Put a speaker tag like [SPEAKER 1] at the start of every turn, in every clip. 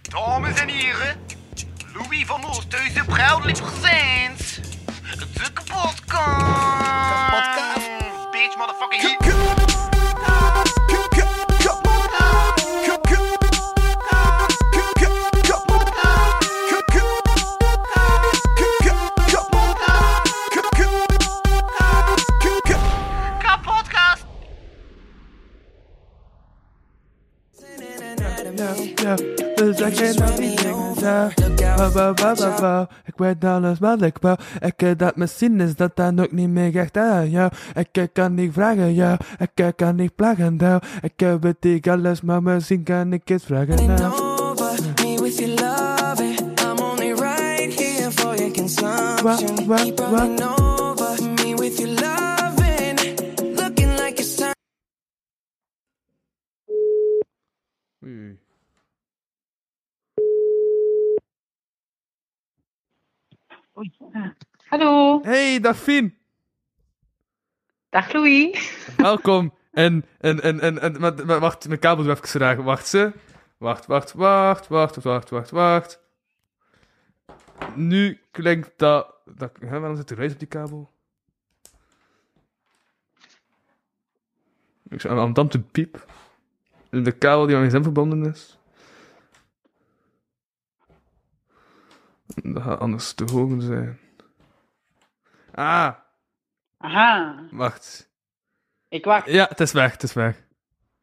[SPEAKER 1] Dames en heren, Louis van Oosthuizen, proudly presents de kapotkast.
[SPEAKER 2] Kapotkast.
[SPEAKER 1] Bitch, motherfucking hit. Kapotkast.
[SPEAKER 3] Ja, ja, dus ik ken al die dingen zo. Wauw, wauw, wauw, wauw, wauw. Ik weet alles wat ik wou. Ik eh, dat misschien is dat dan ook niet meer echt aan jou. Ik eh, kan niet vragen, ja. Ik eh, kan niet plagen, nou. Ik eh, weet niet alles, maar misschien kan ik het vragen, nou.
[SPEAKER 4] over me with your loving. I'm only right here for your consumption.
[SPEAKER 3] Wha- wha-
[SPEAKER 4] Keep
[SPEAKER 3] wha-
[SPEAKER 4] running over me with your loving. Looking like it's time.
[SPEAKER 5] Hallo,
[SPEAKER 3] Hey, dag Fien.
[SPEAKER 5] dag Louis.
[SPEAKER 3] Welkom. En, en, en, en, en maar- maar wacht, mijn kabel doe even dragen. Wacht ze. Wacht, wacht, wacht, wacht, wacht, wacht, wacht. Nu klinkt dat. dat hè, waarom zit er ruis op die kabel? Ik zou aan te piep. En De kabel die aan mijn gsm verbonden is. Dat gaat anders te hoog zijn. Ah,
[SPEAKER 5] Aha,
[SPEAKER 3] wacht.
[SPEAKER 5] ik wacht.
[SPEAKER 3] Ja, het is weg, het is weg.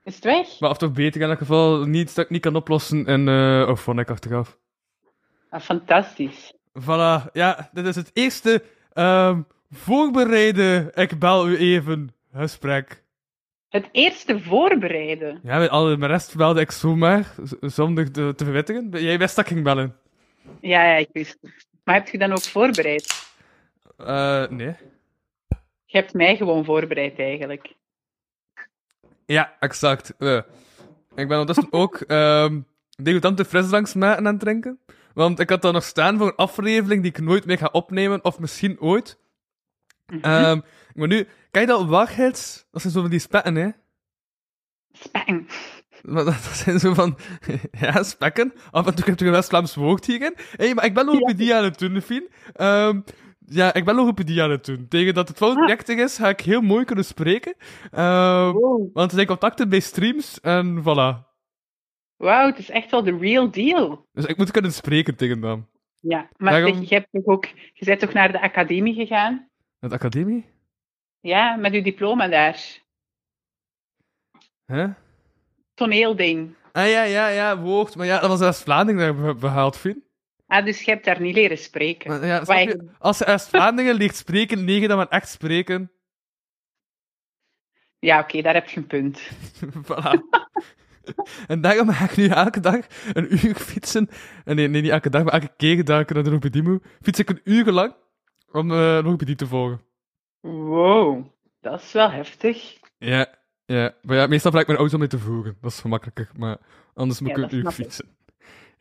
[SPEAKER 5] Is het weg?
[SPEAKER 3] Maar of toch beter in elk geval, niets dat ik niet kan oplossen en eh oh, vond ik achteraf.
[SPEAKER 5] Ah, fantastisch.
[SPEAKER 3] Voilà, ja, dit is het eerste ehm voorbereide ik bel u even gesprek.
[SPEAKER 5] Het eerste voorbereiden.
[SPEAKER 3] Ja, met alle de rest belde ik zomaar, z- zonder de- te verwittigen. Jij wist dat ik ging bellen.
[SPEAKER 5] Ja, ja, ik wist het. Maar heb je dan ook voorbereid?
[SPEAKER 3] Eh, nee.
[SPEAKER 5] Je hebt mij gewoon voorbereid eigenlijk.
[SPEAKER 3] Ja, exact. Eh, Ik ben ondertussen ook ehm degutante frisdranksmaten aan het drinken. Want ik had dat nog staan voor een aflevering die ik nooit meer ga opnemen, of misschien ooit. Ehm, maar nu, kijk dat waarheids... Dat zijn zo van die spetten, hè?
[SPEAKER 5] Spang.
[SPEAKER 3] Maar dat, dat zijn zo van... ja, spekken. Af en toe heb je een West-Vlaams woord hierin. Hé, maar ik ben logopedie aan het doen, Fien. Ehm, ja, ik ben logopedie aan het doen. Tegen dat het volgende projectig is, ga ik heel mooi kunnen spreken. Ehm,
[SPEAKER 5] Wow.
[SPEAKER 3] want er zijn contacten bij streams en voilà.
[SPEAKER 5] Wauw, het is echt wel de real deal.
[SPEAKER 3] Dus ik moet kunnen spreken tegen hem.
[SPEAKER 5] Ja, maar
[SPEAKER 3] Daarom-
[SPEAKER 5] zeg, je, hebt toch ook, je bent toch naar de academie gegaan?
[SPEAKER 3] Met academie?
[SPEAKER 5] Ja, met uw diploma daar.
[SPEAKER 3] Hè?
[SPEAKER 5] Toneelding.
[SPEAKER 3] Ah ja, ja, ja, woord. Maar ja, dat was West-Vlaanderen dat we behaald, Fien.
[SPEAKER 5] Ah, dus je hebt daar niet leren spreken.
[SPEAKER 3] Maar ja, snap
[SPEAKER 5] Wij-
[SPEAKER 3] je? Als ze West-Vlaanderen leert spreken, negen dan maar echt spreken.
[SPEAKER 5] Ja, oké, daar heb je een punt.
[SPEAKER 3] voilà. en daarom ga ik nu elke dag een uur fietsen. Eh, Nee, nee niet elke dag, maar elke keer dat ik naar de logopedie moet, fiets ik een uur lang om eh logopedie te volgen.
[SPEAKER 5] Wow, dat is wel heftig.
[SPEAKER 3] Ja, ja. Maar ja, meestal vraag ik mijn auto om mee te voeren. Dat is gemakkelijker, maar anders moet
[SPEAKER 5] Ja,
[SPEAKER 3] ik
[SPEAKER 5] dat
[SPEAKER 3] een uur
[SPEAKER 5] snap ik.
[SPEAKER 3] fietsen.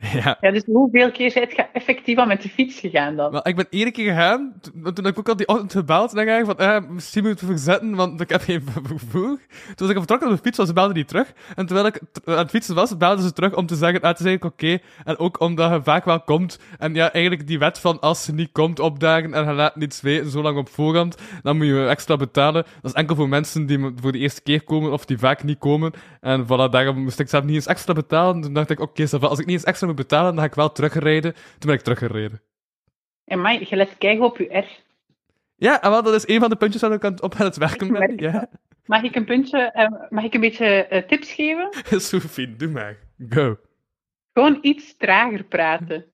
[SPEAKER 3] ja.
[SPEAKER 5] Ja, dus hoeveel keer zijt je effectief al met de fiets gegaan dan?
[SPEAKER 3] Wel, ik ben één keer gegaan, to- want toen heb ik ook al die ochtend gebeld en dan dacht ik van, eh, misschien moet ik het verzetten, want ik heb geen vervoer. Toen was ik vertrokken op de fiets, want ze belden niet terug. En terwijl ik t- aan het fietsen was, belden ze terug om te zeggen, ah, het is eigenlijk oké. En ook omdat je vaak wel komt. En ja, eigenlijk die wet van als ze niet komt opdagen en je laat niets weten, zo lang op voorhand, dan moet je extra betalen. Dat is enkel voor mensen die m- voor de eerste keer komen of die vaak niet komen. En voilà, daarom moest ik zelf niet eens extra betalen. Toen dacht ik, oké, ça va, als ik niet eens extra moet betalen, dan ga ik wel terugrijden. Toen ben ik teruggereden.
[SPEAKER 5] En mij, je let kijken op je R.
[SPEAKER 3] Ja, en wel, dat is een van de puntjes waar ik aan het- op aan het werken ben.
[SPEAKER 5] merk
[SPEAKER 3] Ja.
[SPEAKER 5] Mag ik een puntje, eh, mag ik een beetje eh, tips geven?
[SPEAKER 3] Sophie, doe maar. Go.
[SPEAKER 5] Gewoon iets trager praten.
[SPEAKER 3] En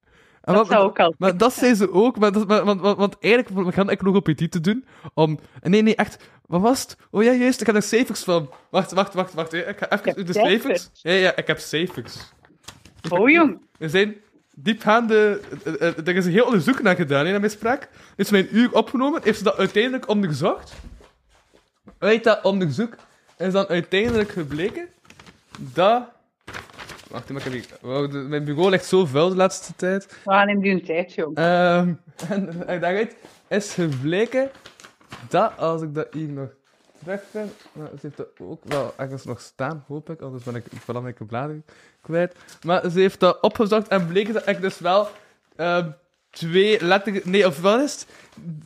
[SPEAKER 5] Dat
[SPEAKER 3] wat-
[SPEAKER 5] zou ook al.
[SPEAKER 3] Maar dat zei ze ook, maar dat, maar, want, want, want eigenlijk begon ik logopedie te doen om... Nee, nee, echt, wat was het? Oh ja, juist, ik heb er cijfers van. Wacht, wacht, wacht, wacht. hè. Ik ga
[SPEAKER 5] Je
[SPEAKER 3] even
[SPEAKER 5] hebt
[SPEAKER 3] de
[SPEAKER 5] cijfers?
[SPEAKER 3] cijfers. Ja, ja, ik heb cijfers.
[SPEAKER 5] Oh jong,
[SPEAKER 3] Er zijn diepgaande... eh, eh, eh, Er is een heel onderzoek naar gedaan, hè, naar mijn spraak. Is mijn uur opgenomen, heeft ze dat uiteindelijk onderzocht. Uit dat onderzoek is dan uiteindelijk gebleken dat... Wacht, maar ik heb hier... wauw, de- mijn bureau ligt zo vuil de laatste tijd.
[SPEAKER 5] ah, neem je een tijd jong.
[SPEAKER 3] Ehm, en, en daaruit is gebleken dat, als ik dat hier nog terug ben. Maar ze heeft dat ook wel ergens nog staan, hoop ik. Anders ben ik belangrijke bladen kwijt. Maar ze heeft dat opgezocht en bleek dat ik dus wel ehm, twee letters... Nee, of wat is het?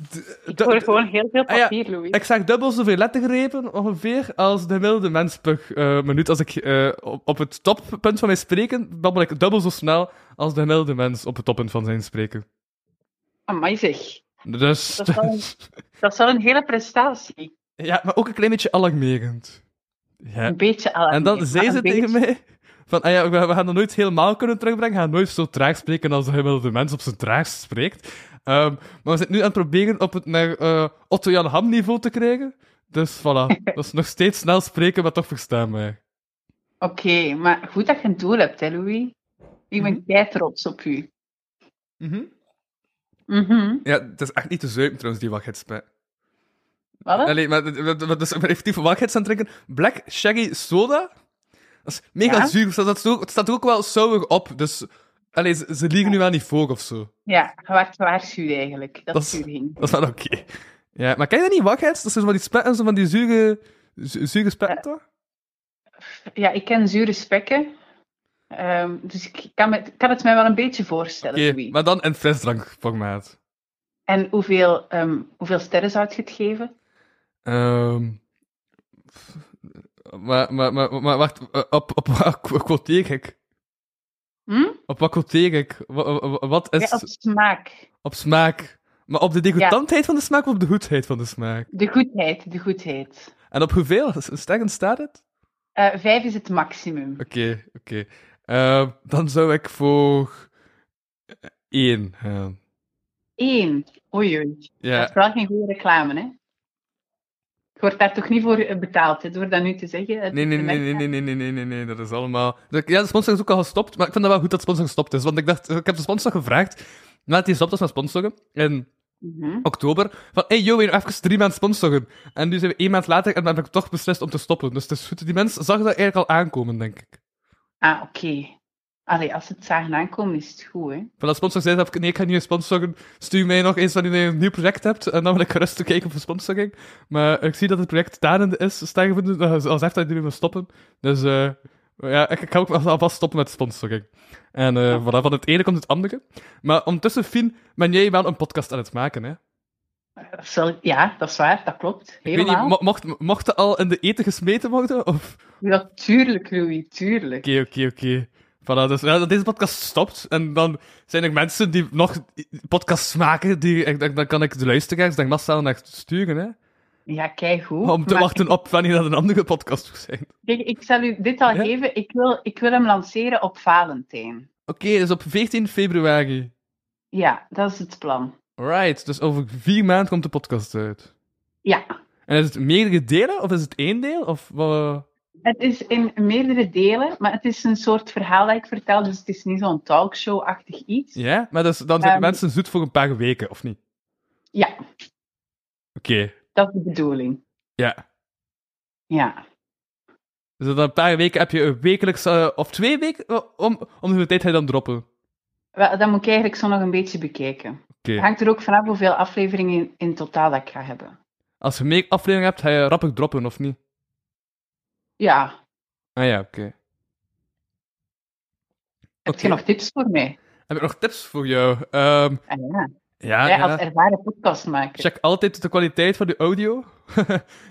[SPEAKER 3] D-
[SPEAKER 5] Ik
[SPEAKER 3] d-
[SPEAKER 5] hoor gewoon heel veel
[SPEAKER 3] Ah ja,
[SPEAKER 5] papier, Louis.
[SPEAKER 3] ik zag dubbel zoveel lettergrepen ongeveer als de gemiddelde mens per eh, minuut. Als ik eh, op, op het toppunt van mijn spreken babbel ik dubbel zo snel als de gemiddelde mens op het toppunt van zijn spreken.
[SPEAKER 5] Amai zeg.
[SPEAKER 3] Dus...
[SPEAKER 5] Dat is wel een- Dat is wel een hele prestatie.
[SPEAKER 3] Ja, maar ook een klein beetje alarmerend. Ja.
[SPEAKER 5] Een beetje
[SPEAKER 3] En
[SPEAKER 5] alarmerend.
[SPEAKER 3] dan zei
[SPEAKER 5] maar
[SPEAKER 3] ze
[SPEAKER 5] een
[SPEAKER 3] tegen
[SPEAKER 5] beetje-
[SPEAKER 3] mij: van, ah ja, we, we gaan dat nooit helemaal kunnen terugbrengen. We gaan nooit zo traag spreken als de gemiddelde mens op zijn traagst spreekt. Ehm, maar we zijn nu aan het proberen op het naar eh, Otto Jan Ham niveau te krijgen. Dus voilà, dat is nog steeds snel spreken, maar toch verstaanbaar.
[SPEAKER 5] Oké, maar goed dat je een doel hebt, hè, Louis. Ik
[SPEAKER 3] Mhm.
[SPEAKER 5] ben kei trots op u. Mhm.
[SPEAKER 3] Ja, het is echt niet te zuipen trouwens, die wagheidsspijt.
[SPEAKER 5] Wat?
[SPEAKER 3] Allee, maar d- d- d- dus ik ben effectief wagheids aan het drinken. Black Shaggy Soda? Dat is mega
[SPEAKER 5] Ja?
[SPEAKER 3] zuur. Het staat, dat ook, het staat ook wel sauer op, dus... Allee, ze, ze liegen nu wel niet voor of zo.
[SPEAKER 5] Ja, je werd gewaarschuwd eigenlijk. Dat,
[SPEAKER 3] Dat
[SPEAKER 5] is
[SPEAKER 3] is-
[SPEAKER 5] uw ding.
[SPEAKER 3] Dat is wel oké. Ja, maar ken je dat niet, wagheids? Dat zijn zo van die spetten, zo van die zure... zu- Zure spetten, toch?
[SPEAKER 5] Ja, ik ken zure spekken. Ehm, dus ik kan, me, kan het mij wel een beetje voorstellen,
[SPEAKER 3] Oké,
[SPEAKER 5] Louis.
[SPEAKER 3] maar dan in frisdrankformaat.
[SPEAKER 5] En hoeveel, ehm, hoeveel sterren zou je het geven?
[SPEAKER 3] Ehm pff, maar, maar, maar, maar wacht, eh, op, op wat qu- quoteer ik?
[SPEAKER 5] Hm?
[SPEAKER 3] Op wat quoteer ik? Wa- wa- wa- Wat is...
[SPEAKER 5] Ja, op smaak.
[SPEAKER 3] Op smaak. Maar op de degoutantheid van de smaak of op de goedheid van de smaak?
[SPEAKER 5] De goedheid, de goedheid.
[SPEAKER 3] En op hoeveel? Sterren staat het?
[SPEAKER 5] Eh, vijf is het maximum.
[SPEAKER 3] Oké, oké. Ehm, dan zou ik voor... eh, één gaan.
[SPEAKER 5] Eén. Oei, oei. Dat
[SPEAKER 3] Ja.
[SPEAKER 5] is wel geen goede reclame, hè? Je wordt daar toch niet voor eh, betaald, hè, door dat nu te zeggen? Het
[SPEAKER 3] Nee,
[SPEAKER 5] is
[SPEAKER 3] nee,
[SPEAKER 5] de
[SPEAKER 3] nee, nee,
[SPEAKER 5] merk-
[SPEAKER 3] nee, nee, nee, nee, nee, nee, dat is allemaal... Dus ik- Ja, de sponsor is ook al gestopt, maar ik vind dat wel goed dat de sponsor gestopt is. Want ik dacht, eh, ik heb de sponsor gevraagd, nadat hij gestopt was met sponsoren, in
[SPEAKER 5] Mhm.
[SPEAKER 3] oktober, van, hey, yo, weer even drie maanden sponsoren. En nu zijn we één maand later en dan heb ik toch beslist om te stoppen. Dus het is goed, die mens zag dat eigenlijk al aankomen, denk ik.
[SPEAKER 5] Ah, oké. Allee, als ze het zagen aankomen, is het goed, hè?
[SPEAKER 3] Van dat sponsor zei, heb ik, nee, ik ga niet meer sponsoren. Stuur mij nog eens wanneer je een nieuw project hebt. En dan wil ik rustig kijken op de sponsoring. Maar eh, ik zie dat het project tanende is. Stel je voor, dat- als als echt dat jullie wil stoppen. Dus eh, ja, ik, ik ga ook wel alvast stoppen met sponsoring. En eh, voilà, van het ene komt het andere. Maar ondertussen, Fien, ben jij wel een podcast aan het maken, hè?
[SPEAKER 5] Dat is wel- Ja, dat is waar, dat klopt.
[SPEAKER 3] Ik weet niet,
[SPEAKER 5] Helemaal.
[SPEAKER 3] mo- mocht, mocht dat al in de eten gesmeten worden? Of...
[SPEAKER 5] Ja, tuurlijk, Louis, tuurlijk.
[SPEAKER 3] Oké, oké, oké. Voilà, dus ja, dat deze podcast stopt. En dan zijn er mensen die nog podcasts maken. Die, ik- dan, dan kan ik de luisteraars denk ik massaal naar sturen, hè.
[SPEAKER 5] Ja, kijk goed.
[SPEAKER 3] Om te wachten op wanneer dat een andere podcast zou zijn.
[SPEAKER 5] Kijk, ik zal u dit al
[SPEAKER 3] Ja?
[SPEAKER 5] geven. Ik wil, ik wil hem lanceren op Valentijn.
[SPEAKER 3] Oké, dus op 14 februari.
[SPEAKER 5] Ja, dat is het plan.
[SPEAKER 3] Right, dus over vier maanden komt de podcast uit.
[SPEAKER 5] Ja,
[SPEAKER 3] En is het meerdere delen, of is het één deel? Of, wat?
[SPEAKER 5] het is in meerdere delen, maar het is een soort verhaal dat ik vertel, dus het is niet zo'n talkshow-achtig iets. Ja,
[SPEAKER 3] Ja, maar dus, dan zijn
[SPEAKER 5] Ehm.
[SPEAKER 3] mensen zoet voor een paar weken, of niet? Oké,
[SPEAKER 5] dat is de bedoeling.
[SPEAKER 3] ja.
[SPEAKER 5] Ja,
[SPEAKER 3] Dus dan een paar weken heb je een wekelijks, eh, of twee weken, eh, om, om de tijd ga je dan droppen. Oké.
[SPEAKER 5] Wel, dat moet ik eigenlijk zo nog een beetje bekijken. Hangt er ook vanaf hoeveel afleveringen in, in totaal dat ik ga hebben.
[SPEAKER 3] Als je meer aflevering hebt, ga je rappig droppen, of niet?
[SPEAKER 5] Ja,
[SPEAKER 3] Ah ja, oké.
[SPEAKER 5] heb
[SPEAKER 3] Oké.
[SPEAKER 5] je nog tips voor mij?
[SPEAKER 3] Heb ik nog tips voor jou? Ehm,
[SPEAKER 5] Ah, ja.
[SPEAKER 3] ja,
[SPEAKER 5] Jij
[SPEAKER 3] ja.
[SPEAKER 5] als ervaren podcastmaker.
[SPEAKER 3] Check altijd de kwaliteit van de audio.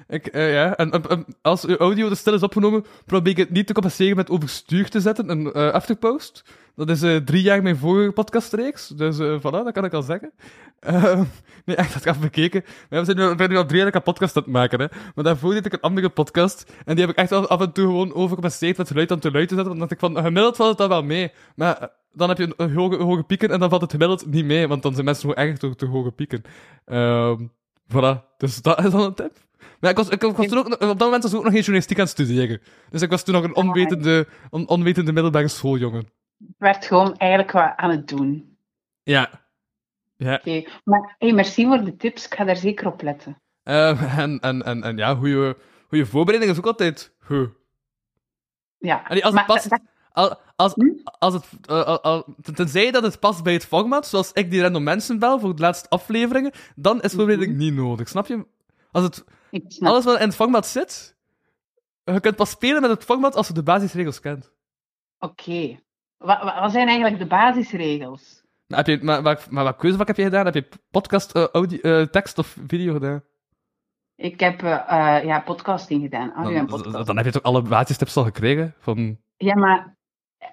[SPEAKER 3] ik, eh, ja. en, en- en als uw audio te stil is opgenomen, probeer ik het niet te compenseren met overstuur te zetten, een eh, afterpost. Dat is eh, drie jaar mijn vorige podcastreeks, dus eh voilà, dat kan ik al zeggen. Ehm, nee, echt, dat heb ik bekeken. Maar we zijn nu, we zijn nu al drie jaar een podcast aan het maken, hè. Maar daarvoor deed ik een andere podcast, en die heb ik echt wel af en toe gewoon overcompenseerd met geluid aan te luid te zetten, omdat ik van, gemiddeld valt het dan wel mee. Maar eh, dan heb je een, een hoge, hoge pieken, en dan valt het gemiddeld niet mee, want dan zijn mensen gewoon erg door te hoge pieken. Ehm voilà, dus dat is al een tip. Maar ik was, ik, ik was toen ook, op dat moment was ik ook nog geen journalistiek aan het studeren. Dus ik was toen nog een onwetende, on- onwetende middelbare schooljongen.
[SPEAKER 5] Ik werd gewoon eigenlijk wat aan het doen.
[SPEAKER 3] Ja.
[SPEAKER 5] Oké, maar hey, merci voor de tips. Ik ga daar zeker op letten.
[SPEAKER 3] Ehm, en, en, en, en ja, goede voorbereiding is ook altijd goed.
[SPEAKER 5] Ja,
[SPEAKER 3] Allee, als het
[SPEAKER 5] maar eh,
[SPEAKER 3] past,
[SPEAKER 5] dat-
[SPEAKER 3] al- als,
[SPEAKER 5] Hm?
[SPEAKER 3] als het, eh, al- al- ten- tenzij dat het past bij het format, zoals ik die random mensen bel voor de laatste afleveringen, dan is voorbereiding niet nodig, snap je? Als het,
[SPEAKER 5] Ik snap.
[SPEAKER 3] Alles wat in het format zit, je kunt pas spelen met het format als je de basisregels kent.
[SPEAKER 5] Oké. Wa- wa- wat zijn eigenlijk de basisregels?
[SPEAKER 3] Nou, heb je, maar, maar, maar wat keuzevak heb je gedaan? Heb je podcast, eh, audio, eh, tekst of video gedaan?
[SPEAKER 5] Ik heb eh, eh, ja, podcasting gedaan. Audio en
[SPEAKER 3] Dan,
[SPEAKER 5] podcast.
[SPEAKER 3] dan heb je toch alle basistips al gekregen? Van,
[SPEAKER 5] Ja, maar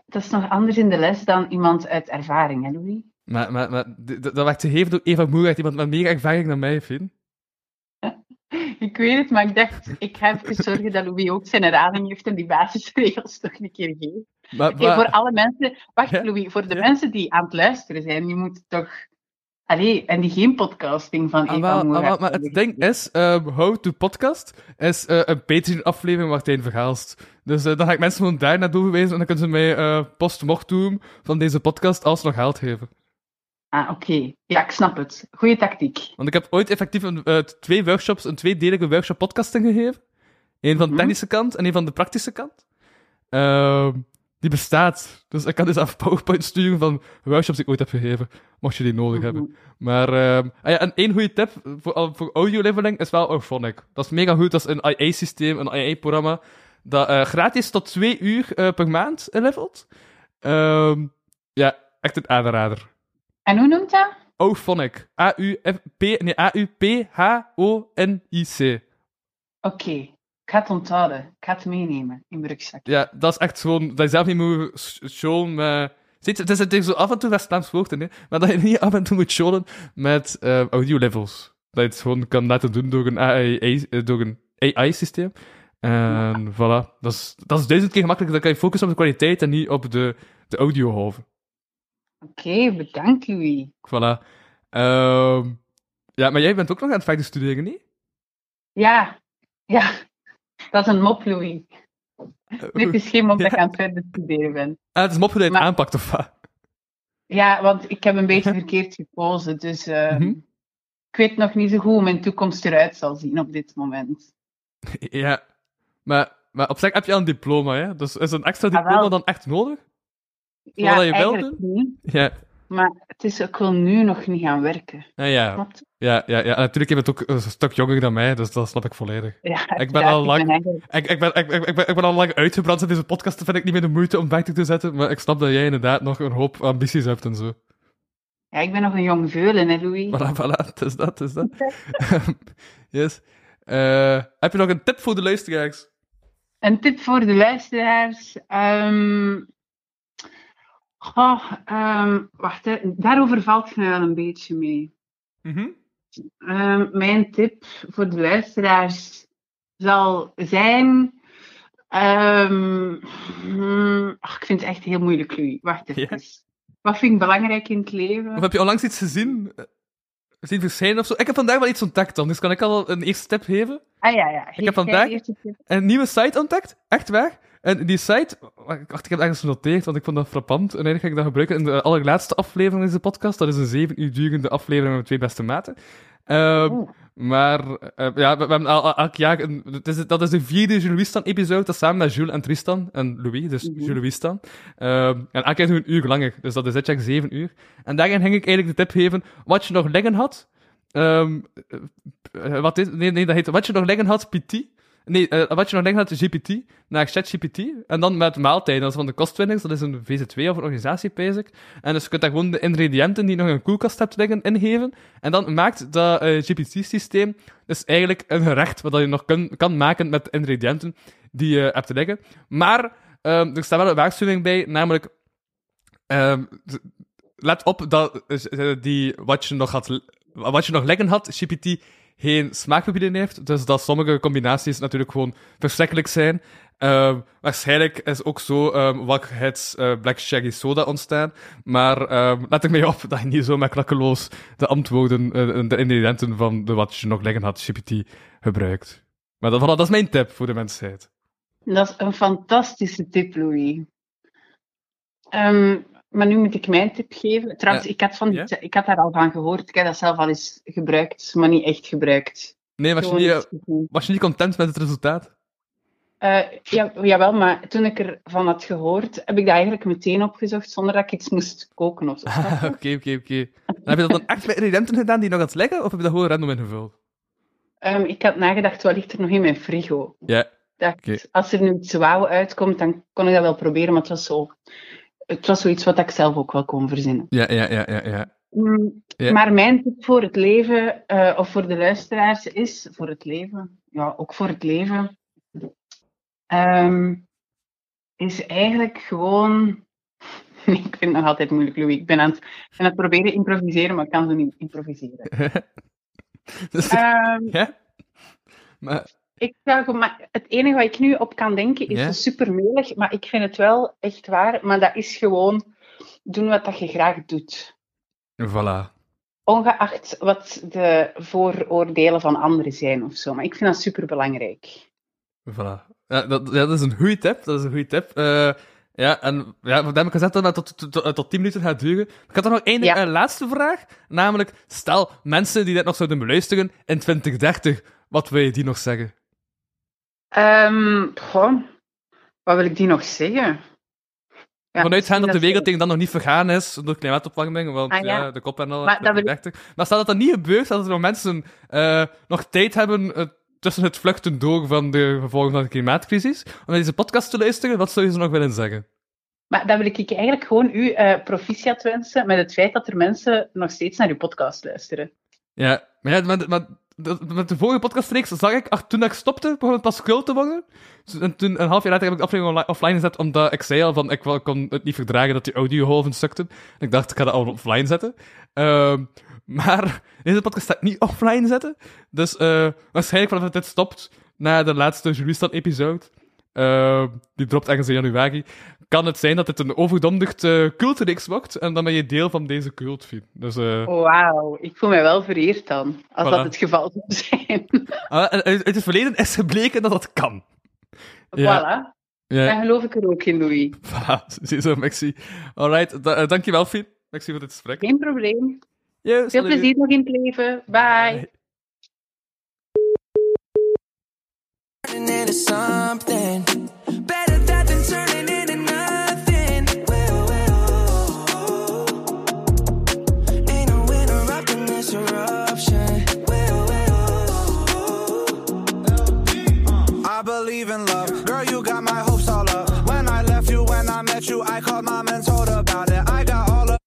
[SPEAKER 5] dat is nog anders in de les dan iemand uit ervaring, hè, Louis?
[SPEAKER 3] maar, maar, maar d- d- dat werd gegeven door Eva Moerijt, iemand met meer ervaring dan mij, vind.
[SPEAKER 5] Ik weet het, maar ik dacht, ik ga even zorgen dat Louis ook zijn herhaling heeft en die basisregels toch een keer geeft.
[SPEAKER 3] Maar,
[SPEAKER 5] Oké,
[SPEAKER 3] maar-
[SPEAKER 5] voor alle mensen. Wacht,
[SPEAKER 3] Ja?
[SPEAKER 5] Louis, voor de
[SPEAKER 3] Ja?
[SPEAKER 5] mensen die aan het luisteren zijn, die moeten toch. Allee, en die geen podcasting van
[SPEAKER 3] Ah,
[SPEAKER 5] Eva
[SPEAKER 3] wel, ah,
[SPEAKER 5] Moerak
[SPEAKER 3] wel, maar
[SPEAKER 5] hebben.
[SPEAKER 3] het ding is, ehm, How to Podcast is eh, een Patreon-aflevering waar Martijn verhaalst. Dus eh, dan ga ik mensen gewoon daar naartoe verwijzen en dan kunnen ze mij eh post mocht doen van deze podcast als ze nog geld geven.
[SPEAKER 5] Ah, oké. Ja, ik snap het. Goeie tactiek.
[SPEAKER 3] Want ik heb ooit effectief een, eh, twee workshops, een tweedelige workshop podcasting gegeven. Eén van de
[SPEAKER 5] Mhm.
[SPEAKER 3] technische kant en één van de praktische kant. Ehm, die bestaat. Dus ik kan dus af PowerPoint sturen van workshops die ik ooit heb gegeven, mocht je die nodig hebben. Maar, ehm, ah ja, en één goede tip voor, al- voor audio-leveling is wel Orphonic. Dat is mega goed, dat is een IA-systeem, een IA-programma, dat eh, gratis tot twee uur eh, per maand eh, levelt. Ehm, ja, echt een aanrader.
[SPEAKER 5] En hoe noemt dat?
[SPEAKER 3] Auphonic. A-U-P, nee, A-U-P-H-O-N-I-C.
[SPEAKER 5] Oké. Ik ga het onthouden. Ik ga het meenemen in mijn rugzak.
[SPEAKER 3] Ja, dat is echt gewoon, dat je zelf niet moet sh- showen met... Ziet, het is het is zo af en toe dat Vlaams woord in, hè, maar dat je niet af en toe moet showen met eh audio-levels. Dat je het gewoon kan laten doen door een AI, eh, door een AI-systeem. En voilà, dat is, dat is duizend keer gemakkelijker. Dan kan je focussen op de kwaliteit en niet op de, de audio-halve.
[SPEAKER 5] Oké, bedankt, Louis.
[SPEAKER 3] Voilà. Ehm, ja, maar jij bent ook nog aan het verder studeren, niet?
[SPEAKER 5] Ja. Ja. Dat is een mop, Louis. Dit is geen mop dat ik
[SPEAKER 3] Ja.
[SPEAKER 5] aan het verder studeren ben.
[SPEAKER 3] Ah, het is mop hoe je het
[SPEAKER 5] Maar-
[SPEAKER 3] aanpakt, of wat?
[SPEAKER 5] Ja, want ik heb een beetje verkeerd gekozen. Dus eh,
[SPEAKER 3] Mhm.
[SPEAKER 5] ik weet nog niet zo goed hoe mijn toekomst eruit zal zien op dit moment.
[SPEAKER 3] Ja, maar, maar op zich heb je al een diploma, hè? Dus is een extra
[SPEAKER 5] Jawel.
[SPEAKER 3] diploma dan echt nodig? Wat je wilt
[SPEAKER 5] eigenlijk niet.
[SPEAKER 3] Ja,
[SPEAKER 5] Maar het is, ik wil nu nog niet gaan werken.
[SPEAKER 3] ja, Ah, ja,
[SPEAKER 5] Klopt.
[SPEAKER 3] ja, ja. En Natuurlijk, je bent ook een stuk jonger dan mij, dus dat snap ik volledig.
[SPEAKER 5] Ja,
[SPEAKER 3] Ik ben
[SPEAKER 5] uiteraard,
[SPEAKER 3] al lang,
[SPEAKER 5] eigenlijk-
[SPEAKER 3] ik, ik, ben, ik, ik, ik ben, ik ben al lang uitgebrand in deze podcast, vind ik niet meer de moeite om weg te zetten, maar ik snap dat jij inderdaad nog een hoop ambities hebt en zo.
[SPEAKER 5] ja, ik ben nog een jong veulen, hè, Louis.
[SPEAKER 3] Voilà, voilà, het is dat, het is dat. yes. Eh, heb je nog een tip voor de luisteraars?
[SPEAKER 5] Een tip voor de luisteraars. ehm, goh, ehm, wacht, hè, daarover valt mij wel een beetje mee.
[SPEAKER 3] Mhm.
[SPEAKER 5] Ehm, mijn tip voor de luisteraars zal zijn. ehm, hmm, ach, ik vind het echt heel moeilijk, Louis. Wacht even. Wat vind ik belangrijk in het leven?
[SPEAKER 3] Of heb je onlangs iets gezien? Eh, Zien verschijnen of zo? Ik heb vandaag wel iets ontdekt dan, dus kan ik al een eerste tip geven?
[SPEAKER 5] Ah ja, ja. Geef jij
[SPEAKER 3] vandaag-
[SPEAKER 5] de eerste tip.
[SPEAKER 3] een nieuwe site ontdekt. Echt waar. En die site, wacht, ik heb het ergens genoteerd, want ik vond dat frappant. En eigenlijk ga ik dat gebruiken in de allerlaatste aflevering van deze podcast. Dat is een zeven uur durende aflevering met twee beste maten. Ehm,
[SPEAKER 5] Oeh.
[SPEAKER 3] maar eh, ja, we, we hebben al, al- elk jaar... Een, het is, dat is de vierde Jules Wistan-episode, dat is samen met Jules en Tristan. En Louis, dus
[SPEAKER 5] Mhm.
[SPEAKER 3] Jules Wistan. Ehm, en elk jaar doen we een uur langer, dus dat is dit jaar zeven uur. En daarin ging ik eigenlijk de tip geven wat je nog liggen had. Ehm, eh, wat is, nee, nee, dat heet wat je nog liggen had, PT. Nee, eh, wat je nog denkt naar GPT, naar ChatGPT, en dan met maaltijden, dat is van de kostwinnings, dat is een VZ2 of een organisatie, pijs ik. En dus je kunt daar gewoon de ingrediënten die je nog in een koelkast hebt liggen, ingeven. En dan maakt dat eh, GPT-systeem dus eigenlijk een gerecht, wat dat je nog kun- kan maken met de ingrediënten die je hebt liggen. Maar ehm, er staat wel een waarschuwing bij, namelijk, ehm, d- let op dat eh, die, wat, je nog had, wat je nog liggen had, GPT, geen smaakgebieden heeft. Dus dat sommige combinaties natuurlijk gewoon verschrikkelijk zijn. Ehm, waarschijnlijk is ook zo ehm Waghets eh, Black Shaggy Soda ontstaan. Maar ehm, let er mee op dat je niet zo met klakkeloos de antwoorden, eh, de ingrediënten van de wat je nog liggen had, GPT, gebruikt. Maar dat, voilà, dat is mijn tip voor de mensheid.
[SPEAKER 5] Dat is een fantastische tip, Louis. Ehm, maar nu moet ik mijn tip geven. Trouwens,
[SPEAKER 3] Ja.
[SPEAKER 5] ik, had van die
[SPEAKER 3] Ja?
[SPEAKER 5] ti- ik had daar al van gehoord. Ik heb dat zelf al eens gebruikt, maar niet echt gebruikt.
[SPEAKER 3] Nee, was je,
[SPEAKER 5] Gewoon
[SPEAKER 3] niet, eh,
[SPEAKER 5] eens gezien.
[SPEAKER 3] was je niet content met het resultaat?
[SPEAKER 5] Eh, ja, jawel, maar toen ik ervan had gehoord, heb ik dat eigenlijk meteen opgezocht zonder dat ik iets moest koken of zo.
[SPEAKER 3] Ah, Oké, oké, oké. Dan Heb je dat dan echt met ingrediënten gedaan die nog aan het liggen, of heb je dat gewoon random ingevuld?
[SPEAKER 5] Ehm, ik had nagedacht, wat ligt er nog in mijn frigo?
[SPEAKER 3] Ja.
[SPEAKER 5] dacht,
[SPEAKER 3] Oké.
[SPEAKER 5] als er nu iets wauw uitkomt, dan kon ik dat wel proberen, maar het was, zo, het was zoiets wat ik zelf ook wel kon verzinnen.
[SPEAKER 3] Ja, ja, ja, ja, ja.
[SPEAKER 5] Mm,
[SPEAKER 3] Ja.
[SPEAKER 5] Maar mijn tip voor het leven, eh, of voor de luisteraars, is voor het leven, ja, ook voor het leven, ehm, is eigenlijk gewoon. Ik vind het nog altijd moeilijk, Louis. Ik ben aan het, ik ben aan het proberen improviseren, maar ik kan zo niet improviseren.
[SPEAKER 3] Dus-
[SPEAKER 5] Ehm,
[SPEAKER 3] ja? Maar,
[SPEAKER 5] Ik zou gema- het enige wat ik nu op kan denken is
[SPEAKER 3] Ja?
[SPEAKER 5] super melig, maar ik vind het wel echt waar. Maar dat is gewoon doen wat dat je graag doet.
[SPEAKER 3] voilà.
[SPEAKER 5] Ongeacht wat de vooroordelen van anderen zijn of zo. Maar ik vind dat super belangrijk.
[SPEAKER 3] Voilà. Ja, dat, ja, dat is een goede tip. Dat is een goede tip. Eh, ja, en ja, wat heb ik gezegd dat het tot, tot, tot, tot 10 minuten gaat duren. Ik had dan nog één
[SPEAKER 5] Ja.
[SPEAKER 3] eh, laatste vraag. Namelijk, stel mensen die dit nog zouden beluisteren in 2030, wat wil je die nog zeggen?
[SPEAKER 5] Ehm, goh, wat wil ik die nog zeggen? Ja,
[SPEAKER 3] Vanuitgaan dat de
[SPEAKER 5] misschien
[SPEAKER 3] wereld tegen dan nog niet vergaan is door klimaatopwarming, want
[SPEAKER 5] Ah,
[SPEAKER 3] ja.
[SPEAKER 5] ja.
[SPEAKER 3] de kop en al.
[SPEAKER 5] Maar dat wil ik-
[SPEAKER 3] 2030. Maar stel dat dat niet gebeurt, stel dat er nog mensen eh, nog tijd hebben eh, tussen het vluchten door van de gevolgen van de klimaatcrisis, om naar deze podcast te luisteren, wat zou je ze nog willen zeggen?
[SPEAKER 5] Maar dan wil ik eigenlijk gewoon u eh, proficiat wensen met het feit dat er mensen nog steeds naar uw podcast luisteren.
[SPEAKER 3] Ja, maar, ja, maar, maar dat- met de vorige podcastreeks zag ik, ach, toen ik stopte, begon het pas krul te worden. Dus- En toen, een half jaar later, heb ik de aflevering onli- offline gezet, omdat ik zei al van, ik wel- kon het niet verdragen dat die audioholven stukten. En ik dacht, ik ga dat al offline zetten. Ehm, maar deze podcast staat niet offline zetten. Dus eh, waarschijnlijk vanaf dat dit stopt, na de laatste Juristan episode, ehm, die dropt ergens in januari, kan het zijn dat dit een overdomdigd eh, cultreeks wordt, en dan ben je deel van deze cult, Fien. Dus... eh,
[SPEAKER 5] Wauw, ik voel mij wel vereerd dan, als
[SPEAKER 3] Voilà.
[SPEAKER 5] dat het geval zou zijn.
[SPEAKER 3] Ah, en uit, uit het verleden is gebleken dat dat kan. Ja.
[SPEAKER 5] Voilà,
[SPEAKER 3] Ja,
[SPEAKER 5] daar geloof ik er ook in, Louis.
[SPEAKER 3] voilà. Zie je zo, Maxi. Alright, da- eh, dankjewel, Fien. Maxi voor dit gesprek.
[SPEAKER 5] Geen probleem.
[SPEAKER 3] Yo,
[SPEAKER 5] Veel
[SPEAKER 3] salut.
[SPEAKER 5] plezier nog in het leven. Bye.
[SPEAKER 4] turning into something better that than turning into nothing. Well, well, ain't no winner up in this eruption. Well, well,
[SPEAKER 2] I believe in love. Girl, you got my hopes all up. When I left you, when I met you, I called mom and told her about it. I got all of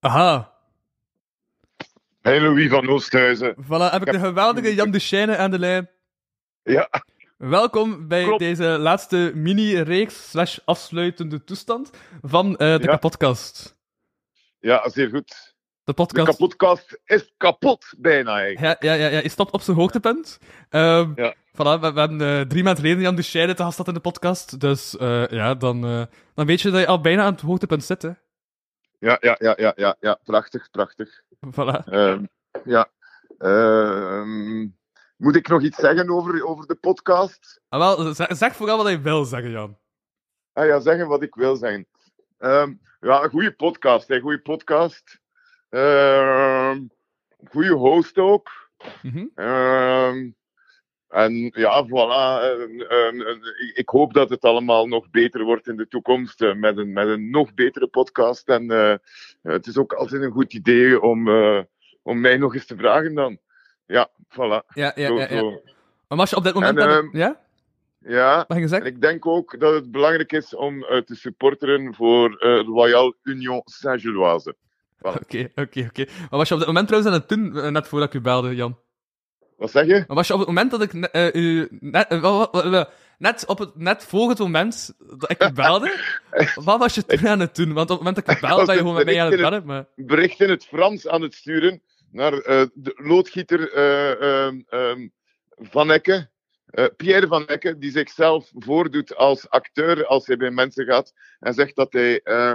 [SPEAKER 3] Aha.
[SPEAKER 6] Hey Louis van Oosthuizen.
[SPEAKER 3] Voilà, heb ik de geweldige Jan Duchesne aan de lijn.
[SPEAKER 6] Ja,
[SPEAKER 3] Welkom bij
[SPEAKER 6] Klopt.
[SPEAKER 3] deze laatste mini-reeks slash afsluitende toestand van eh, de
[SPEAKER 6] Ja.
[SPEAKER 3] kapotkast.
[SPEAKER 6] ja, zeer goed.
[SPEAKER 3] De
[SPEAKER 6] De
[SPEAKER 3] podcast.
[SPEAKER 6] kapotkast is kapot bijna eigenlijk.
[SPEAKER 3] Ja, ja, ja, ja, je stopt op zijn hoogtepunt. Ehm
[SPEAKER 6] Ja.
[SPEAKER 3] voilà, we, we hebben eh, drie maanden geleden Jan Duchesne te gast had in de podcast. Dus eh, ja, dan, eh, dan weet je dat je al bijna aan het hoogtepunt zit, hè.
[SPEAKER 6] Ja, ja, ja, ja, ja, ja. prachtig, prachtig.
[SPEAKER 3] Voilà.
[SPEAKER 6] Ehm, ja. Ehm, moet ik nog iets zeggen over, over de podcast?
[SPEAKER 3] Ah, wel, zeg, zeg vooral wat hij wil zeggen, Jan.
[SPEAKER 6] Ah ja, zeggen wat ik wil zeggen. Ehm, ja, een goede podcast, een goede podcast. Ehm goede host ook.
[SPEAKER 3] Mhm.
[SPEAKER 6] Ehm, en ja, voilà. Ehm, ehm, ehm, ik- ik hoop dat het allemaal nog beter wordt in de toekomst eh, met, een, met een nog betere podcast. En eh, het is ook altijd een goed idee om, eh, om mij nog eens te vragen dan. Ja, voilà.
[SPEAKER 3] Ja, ja,
[SPEAKER 6] Zo,
[SPEAKER 3] ja, ja.
[SPEAKER 6] zo.
[SPEAKER 3] Maar was je op dit moment...
[SPEAKER 6] En,
[SPEAKER 3] dan-
[SPEAKER 6] ehm,
[SPEAKER 3] ja?
[SPEAKER 6] ja.
[SPEAKER 3] Mag je
[SPEAKER 6] En
[SPEAKER 3] zeggen?
[SPEAKER 6] ik denk ook dat het belangrijk is om eh, te supporteren voor eh, Royal Union Saint-Gilloise. ik-
[SPEAKER 3] Oké, oké, oké. Maar was je op dit moment trouwens aan het doen, eh, net voordat ik u belde, Jan?
[SPEAKER 6] Wat zeg je?
[SPEAKER 3] Maar was je op het moment dat ik... ne- eh, u, net, eh, wa- wa- wa- net, op het, net voor het moment dat ik u belde, wat was je toen aan het doen? Want op het moment dat ik u belde,
[SPEAKER 6] was
[SPEAKER 3] ben je
[SPEAKER 6] dus
[SPEAKER 3] gewoon met mij aan het
[SPEAKER 6] direct in
[SPEAKER 3] bellen. Maar...
[SPEAKER 6] bericht in het Frans aan het sturen naar eh, de loodgieter eh, ehm, ehm, Van Ecke. eh, Pierre Van Ecke, die zichzelf voordoet als acteur als hij bij mensen gaat en zegt dat hij eh,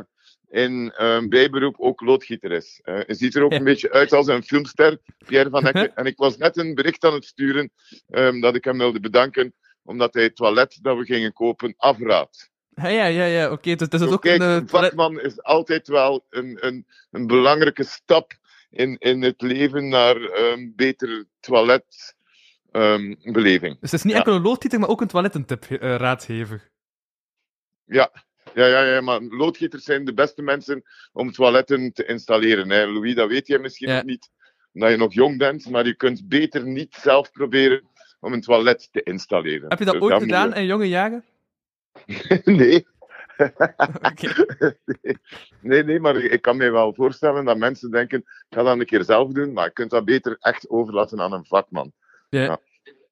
[SPEAKER 6] in ehm, bijberoep ook loodgieter is. Eh, hij ziet er ook
[SPEAKER 3] Ja.
[SPEAKER 6] een beetje uit als een filmster, Pierre Van Ecke. en ik was net een bericht aan het sturen ehm, dat ik hem wilde bedanken omdat hij het toilet dat we gingen kopen afraadt.
[SPEAKER 3] Ja, ja, ja, ja, oké. dus het is
[SPEAKER 6] Zo,
[SPEAKER 3] ook
[SPEAKER 6] kijk,
[SPEAKER 3] een... eh,
[SPEAKER 6] een vakman is altijd wel een, een, een belangrijke stap in, in het leven naar een betere ehm, toiletbeleving.
[SPEAKER 3] Dus het is niet
[SPEAKER 6] Ja.
[SPEAKER 3] enkel een loodgieter, maar ook een toilettentip, eh, raadgever.
[SPEAKER 6] ja, Ja, ja, ja, maar loodgieters zijn de beste mensen om toiletten te installeren. Hè. Louis, dat weet jij misschien
[SPEAKER 3] Ja.
[SPEAKER 6] nog niet, omdat je nog jong bent, maar je kunt beter niet zelf proberen om een toilet te installeren.
[SPEAKER 3] Heb je dat
[SPEAKER 6] Dus
[SPEAKER 3] ooit
[SPEAKER 6] daar moet
[SPEAKER 3] gedaan
[SPEAKER 6] je-
[SPEAKER 3] in jonge jaren?
[SPEAKER 6] Nee.
[SPEAKER 3] Oké.
[SPEAKER 6] Nee, nee, maar ik kan me wel voorstellen dat mensen denken, ik ga dat een keer zelf doen, maar je kunt dat beter echt overlaten aan een vakman.
[SPEAKER 3] Ja.
[SPEAKER 6] Ja.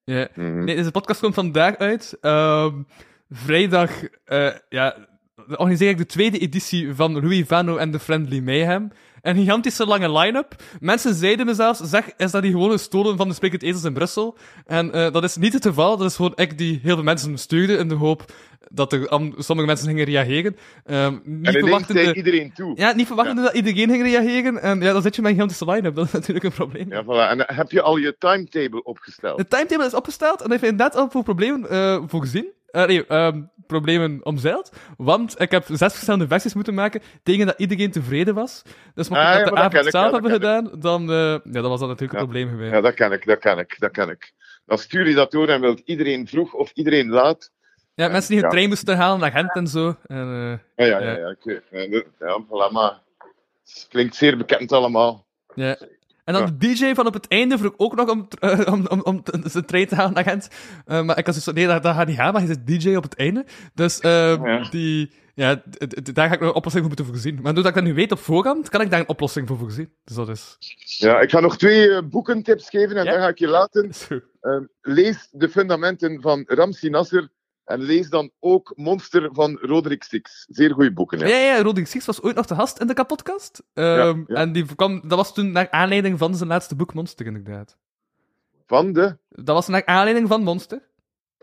[SPEAKER 3] ja.
[SPEAKER 6] Mhm.
[SPEAKER 3] Nee, deze podcast komt vandaag uit. Ehm, vrijdag eh, ja, organiseer ik de tweede editie van Louis Vano en de Friendly Mayhem. Een gigantische lange line-up. Mensen zeiden me zelfs, zeg, is dat die gewoon gestolen van de Sprekend Ezels in Brussel? En eh, dat is niet het geval. Dat is gewoon ik die heel veel mensen stuurde in de hoop dat er am- sommige mensen gingen reageren. Ehm, niet
[SPEAKER 6] En ineens
[SPEAKER 3] verwachtende-
[SPEAKER 6] zei iedereen toe.
[SPEAKER 3] Ja, niet verwachtende dat iedereen ging reageren. En ja, dan zit je met een gigantische line-up. Dat is natuurlijk een probleem.
[SPEAKER 6] Ja, voilà. En heb je al je timetable opgesteld?
[SPEAKER 3] De timetable is opgesteld en dat heeft inderdaad al voor problemen eh voorzien. Eh, nee, ehm, problemen omzeild. Want ik heb zes verschillende versies moeten maken tegen dat iedereen tevreden was. Dus mocht ik
[SPEAKER 6] Ah,
[SPEAKER 3] dat
[SPEAKER 6] ja,
[SPEAKER 3] de
[SPEAKER 6] maar
[SPEAKER 3] avond
[SPEAKER 6] dat ken ik,
[SPEAKER 3] zelf
[SPEAKER 6] ja, dat
[SPEAKER 3] hebben gedaan, dan, eh, ja, dan was dat natuurlijk een probleem geweest.
[SPEAKER 6] Ja, dat kan ik, dat kan ik, dat kan ik. Dan stuur je dat door en wilt iedereen vroeg of iedereen laat.
[SPEAKER 3] Ja, mensen die hun
[SPEAKER 6] Ja.
[SPEAKER 3] trein moesten halen naar Gent en zo. En, eh,
[SPEAKER 6] Ah, ja, ja,
[SPEAKER 3] Ja.
[SPEAKER 6] ja. oké. Ja, dat- ja, voilà, maar het klinkt zeer bekend allemaal.
[SPEAKER 3] ja. en dan
[SPEAKER 6] Dus, Ja.
[SPEAKER 3] de DJ van op het einde vroeg ook nog om, eh, om, om, om te- zijn trein te halen naar Gent. Eh, maar ik had zoiets van, nee, dat, dat gaat niet gaan, maar hij is DJ op het einde. Dus ehm,
[SPEAKER 6] Ja.
[SPEAKER 3] die, ja, d- d- d- daar ga ik nog een oplossing voor moeten voorzien. Maar doordat ik dat nu weet op voorhand, kan ik daar een oplossing voor voorzien. Dus dat is...
[SPEAKER 6] Ja, ik ga nog twee eh, boekentips geven en
[SPEAKER 3] Ja.
[SPEAKER 6] dan ga ik je laten.
[SPEAKER 3] Zo.
[SPEAKER 6] Ehm, lees de fundamenten van Ramsi Nasser en lees dan ook Monster van Roderick Six. Zeer goede boeken.
[SPEAKER 3] Ja,
[SPEAKER 6] Ja.
[SPEAKER 3] ja, ja Roderick Six was ooit nog te gast in de kapotkast. Ehm,
[SPEAKER 6] Ja, ja.
[SPEAKER 3] En die kwam, dat was toen naar aanleiding van zijn laatste boek Monster, inderdaad.
[SPEAKER 6] Van de.
[SPEAKER 3] Dat was naar aanleiding van Monster.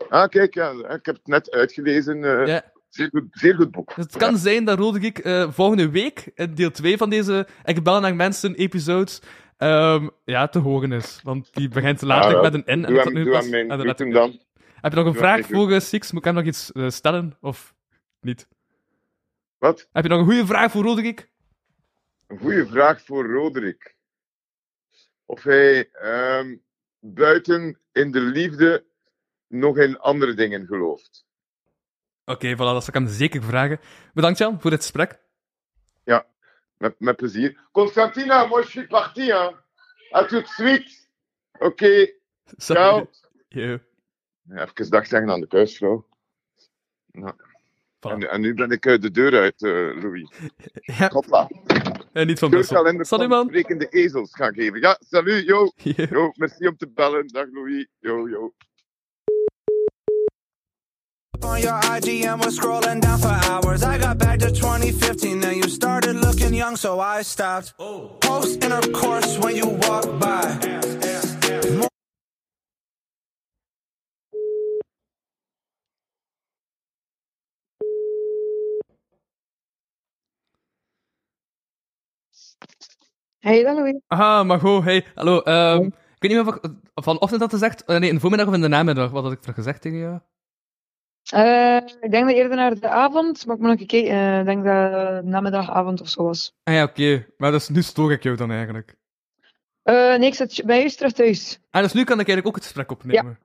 [SPEAKER 6] Ah, kijk, ja, ik heb het net uitgelezen. eh,
[SPEAKER 3] Ja.
[SPEAKER 6] zeer, goed, zeer goed boek.
[SPEAKER 3] Dus het kan zijn dat Roderick eh, volgende week, in deel 2 van deze Ik bel naar mensen episodes, ehm, ja, te horen is. Want die begint later
[SPEAKER 6] Ah, wel.
[SPEAKER 3] met een N. En
[SPEAKER 6] Ja. Doe
[SPEAKER 3] dat zat
[SPEAKER 6] hem,
[SPEAKER 3] nu
[SPEAKER 6] doe
[SPEAKER 3] pas
[SPEAKER 6] hem, mijn,
[SPEAKER 3] aan de
[SPEAKER 6] doe
[SPEAKER 3] letter
[SPEAKER 6] hem
[SPEAKER 3] N.
[SPEAKER 6] dan.
[SPEAKER 3] Heb je nog een
[SPEAKER 6] Doe hem
[SPEAKER 3] vraag
[SPEAKER 6] mijn
[SPEAKER 3] voor eh, Six? Moet ik hem nog iets eh, stellen? Of niet?
[SPEAKER 6] Wat?
[SPEAKER 3] Heb je nog een goede vraag voor Roderick?
[SPEAKER 6] Een goede vraag voor Roderick. Of hij ehm, buiten in de liefde nog in andere dingen gelooft.
[SPEAKER 3] Oké, voilà, dat zal ik hem zeker vragen. Bedankt, Jan, voor dit gesprek.
[SPEAKER 6] Met, met plezier. Constantina, moi je suis parti, hein. À tout de suite. Oké, ciao.
[SPEAKER 3] Yo.
[SPEAKER 6] Even dag zeggen aan de kuisvrouw. Ja.
[SPEAKER 3] Voilà.
[SPEAKER 6] En, en nu ben ik eh, de deur uit, eh, Louis.
[SPEAKER 3] Ja,
[SPEAKER 6] Hopla.
[SPEAKER 3] en niet van Brussel.
[SPEAKER 6] Deurkalender
[SPEAKER 3] Salut,
[SPEAKER 6] van
[SPEAKER 3] man.
[SPEAKER 6] sprekende ezels gaan geven. Ja, salut, yo.
[SPEAKER 3] Yo.
[SPEAKER 6] Yo, merci om te bellen. Dag Louis. Yo, yo.
[SPEAKER 2] Up on your IG and was scrolling down for hours. I got back to 2015 and you started looking young, so I stopped. Post intercourse when you walk by.
[SPEAKER 7] Hey, dat Louis.
[SPEAKER 3] Aha, Margot, hey. Hallo. ehm, ik weet niet meer of ik vanochtend had gezegd. eh, nee, in de voormiddag of in de namiddag. Wat had ik er gezegd tegen jou?
[SPEAKER 7] Eh, ik denk dat eerder naar de avond, maar ik moet nog gekeken. Eh, ik denk dat het namiddagavond of zo was.
[SPEAKER 3] Ah ja, oké. Maar dus nu stoor ik jou dan eigenlijk.
[SPEAKER 7] Eh, nee, ik zit bij u terug thuis.
[SPEAKER 3] Ah, dus nu kan ik eigenlijk ook het gesprek opnemen.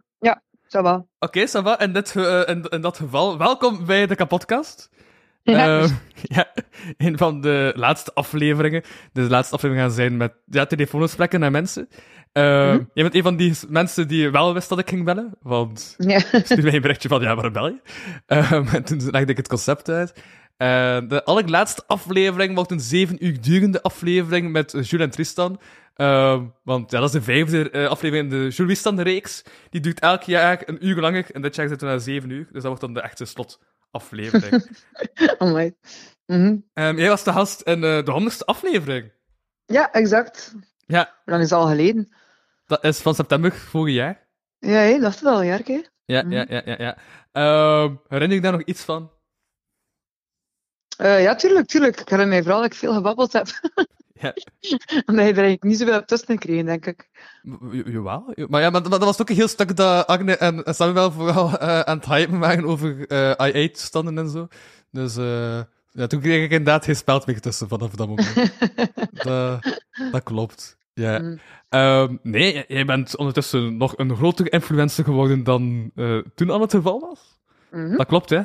[SPEAKER 7] Zo wel.
[SPEAKER 3] Oké, ça va. In, dit, ge- eh, in, in dat geval, welkom bij de kapotkast.
[SPEAKER 7] Ja. Dus-
[SPEAKER 3] Ehm, ja, een van de laatste afleveringen. De laatste afleveringen gaan zijn met ja, telefoongesprekken naar mensen. Ehm,
[SPEAKER 7] Mhm.
[SPEAKER 3] Jij bent een van die s- mensen die wel wist dat ik ging bellen, want
[SPEAKER 7] Ja.
[SPEAKER 3] stuurde mij een berichtje van, ja, waarom bel je? Ehm, en toen legde ik het concept uit. Eh, de allerlaatste aflevering wordt een zeven uur durende aflevering met eh, Jules en Tristan. Ehm, want ja, dat is de vijfde eh, aflevering in de Jules-Tristan-reeks. Die duurt elk jaar een uur langer. En dit jaar zitten we naar zeven uur. Dus dat wordt dan de echte slotaflevering.
[SPEAKER 7] Amai. Mhm.
[SPEAKER 3] Ehm, jij was de gast in eh, de honderdste aflevering.
[SPEAKER 7] Ja, exact.
[SPEAKER 3] Ja.
[SPEAKER 7] Hoe lang is dat al geleden?
[SPEAKER 3] Dat is van september vorig jaar.
[SPEAKER 7] Ja, hé, dat is het al een jaar, hè?
[SPEAKER 3] Ja,
[SPEAKER 7] Mhm.
[SPEAKER 3] ja, ja, ja. ja. Ehm, herinner ik daar nog iets van?
[SPEAKER 7] Eh, ja, tuurlijk, tuurlijk. Ik herinner mij vooral dat ik veel gebabbeld heb.
[SPEAKER 3] Ja.
[SPEAKER 7] Omdat je er eigenlijk niet zoveel hebt tussen gekregen, denk ik.
[SPEAKER 3] M- j- Jawel. j- Maar ja, maar, dat- maar dat was ook een heel stuk dat Agne en en Samuel vooral eh, aan het hypen waren over eh IA-toestanden en zo. Dus eh, ja, toen kreeg ik inderdaad geen speld meer tussen vanaf dat moment. dat, dat klopt. Ja.
[SPEAKER 7] Mm.
[SPEAKER 3] Ehm, nee, j- jij bent ondertussen nog een grotere influencer geworden dan eh, toen al het geval was.
[SPEAKER 7] Mhm.
[SPEAKER 3] Dat klopt, hè?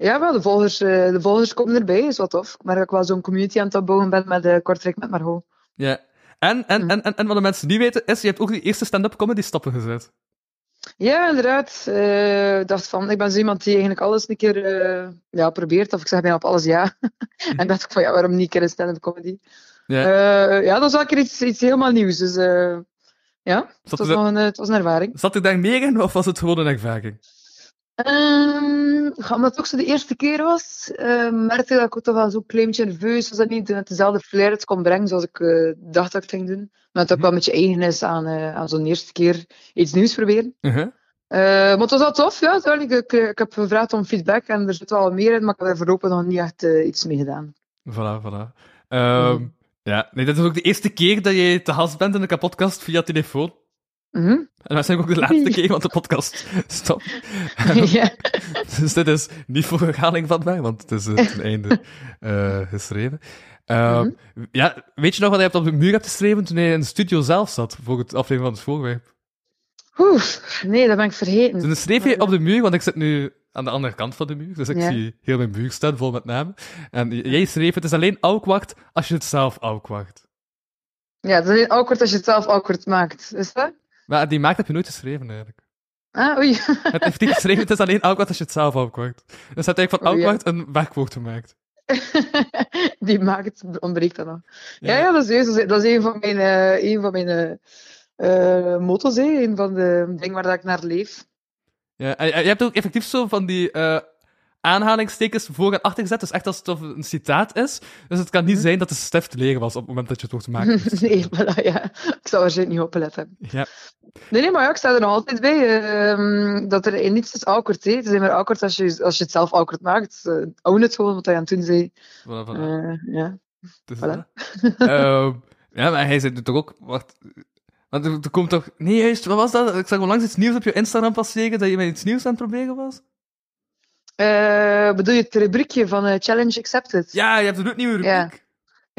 [SPEAKER 7] Ja, wel, de volgers, eh, de volgers komen erbij, is wat tof. Ik merk dat ik wel zo'n community aan het opbouwen ben met eh Kortrijk met Margot.
[SPEAKER 3] Ja. En, en,
[SPEAKER 7] Hm.
[SPEAKER 3] en, en, en wat de mensen niet weten, is je hebt ook die eerste stand-up comedy stappen gezet.
[SPEAKER 7] Ja, inderdaad. Eh, Ik dacht van, ik ben zo iemand die eigenlijk alles een keer eh, ja, probeert, of ik zeg bijna op alles ja. en dacht ik van, ja, waarom niet een keer een stand-up comedy?
[SPEAKER 3] Ja.
[SPEAKER 7] Eh, ja, dat was wel een keer iets, iets helemaal nieuws. Dus eh, ja, het
[SPEAKER 3] Zat,
[SPEAKER 7] was,
[SPEAKER 3] er,
[SPEAKER 7] nog een, eh, het was een ervaring.
[SPEAKER 3] zat er daar meer in, of was het gewoon een ervaring?
[SPEAKER 7] Ehm, ja, omdat het ook zo de eerste keer was, eh, merkte ik dat ik ook toch wel zo'n klein beetje nerveus was. Dat niet met dezelfde flair het kon brengen zoals ik eh, dacht dat ik het ging doen. Maar het ook wel een beetje eigen is aan, eh, aan zo'n eerste keer iets nieuws proberen.
[SPEAKER 3] Uh-huh.
[SPEAKER 7] Eh, maar het was wel tof, ja. Duidelijk, ik, eh, ik heb gevraagd om feedback en er zit wel meer in, maar ik heb er voorlopig nog niet echt eh, iets mee gedaan.
[SPEAKER 3] Voilà, voilà. Ehm, Ja, nee, dat is ook de eerste keer dat je te gast bent in een podcast via telefoon.
[SPEAKER 7] Mhm.
[SPEAKER 3] En waarschijnlijk ook de laatste keer, want de podcast stopt.
[SPEAKER 7] ja.
[SPEAKER 3] Dus dit is niet voor herhaling van mij, want het is eh, ten einde eh, geschreven. Ehm, ja, weet je nog wat je hebt op de muur hebt geschreven toen je in de studio zelf zat, voor het aflevering van het voorwerp?
[SPEAKER 7] Oef, nee, dat ben ik vergeten.
[SPEAKER 3] Toen schreef je op de muur, want ik zit nu aan de andere kant van de muur, dus ik
[SPEAKER 7] Ja.
[SPEAKER 3] zie heel mijn muur staan, vol met namen. En j- jij schreef, het is alleen awkward als je het zelf awkward.
[SPEAKER 7] Ja, het is alleen awkward als je het zelf awkward maakt. Is dat?
[SPEAKER 3] Maar die maakt heb je nooit geschreven, eigenlijk.
[SPEAKER 7] Ah, oei.
[SPEAKER 3] Het heeft niet geschreven, het is alleen awkward als je het zelf awkward. Dus dat heeft eigenlijk van
[SPEAKER 7] Oh, ja.
[SPEAKER 3] awkward een werkwoord gemaakt.
[SPEAKER 7] Die maakt, ontbreekt dat nog. Ja,
[SPEAKER 3] Ja.
[SPEAKER 7] ja, dat is juist. Dat is- Dat is een van mijn, eh, een van mijn eh, eh, motto's, hè. een van de dingen waar dat ik naar leef.
[SPEAKER 3] Ja, en, en je hebt ook effectief zo van die eh, aanhalingstekens voor en achter gezet, dus echt alsof het een citaat is. Dus het kan niet zijn dat de Stef te leren was op het moment dat je het woord maakte.
[SPEAKER 7] Mhm. nee, voilà, ja. Ik zou waarschijnlijk niet opgelet hebben.
[SPEAKER 3] Ja.
[SPEAKER 7] Nee, nee, maar ja, ik sta er nog altijd bij. ehm, dat er in niets is awkward. Hè. Het is maar awkward als je, als je het zelf awkward maakt. Eh, own het gewoon wat hij aan het doen zei.
[SPEAKER 3] Voilà, voilà.
[SPEAKER 7] Eh, ja.
[SPEAKER 3] Dus
[SPEAKER 7] Voilà.
[SPEAKER 3] dat. Ehm, ja, maar hij zei nu toch ook... Wacht, want er, er komt toch... Nee, juist, wat was dat? Ik zag onlangs iets nieuws op je Instagram passeren, dat je met iets nieuws aan het proberen was.
[SPEAKER 7] Eh, bedoel je het rubriekje van eh, Challenge Accepted?
[SPEAKER 3] Ja, je hebt een gloednieuwe rubriek.
[SPEAKER 7] Ja.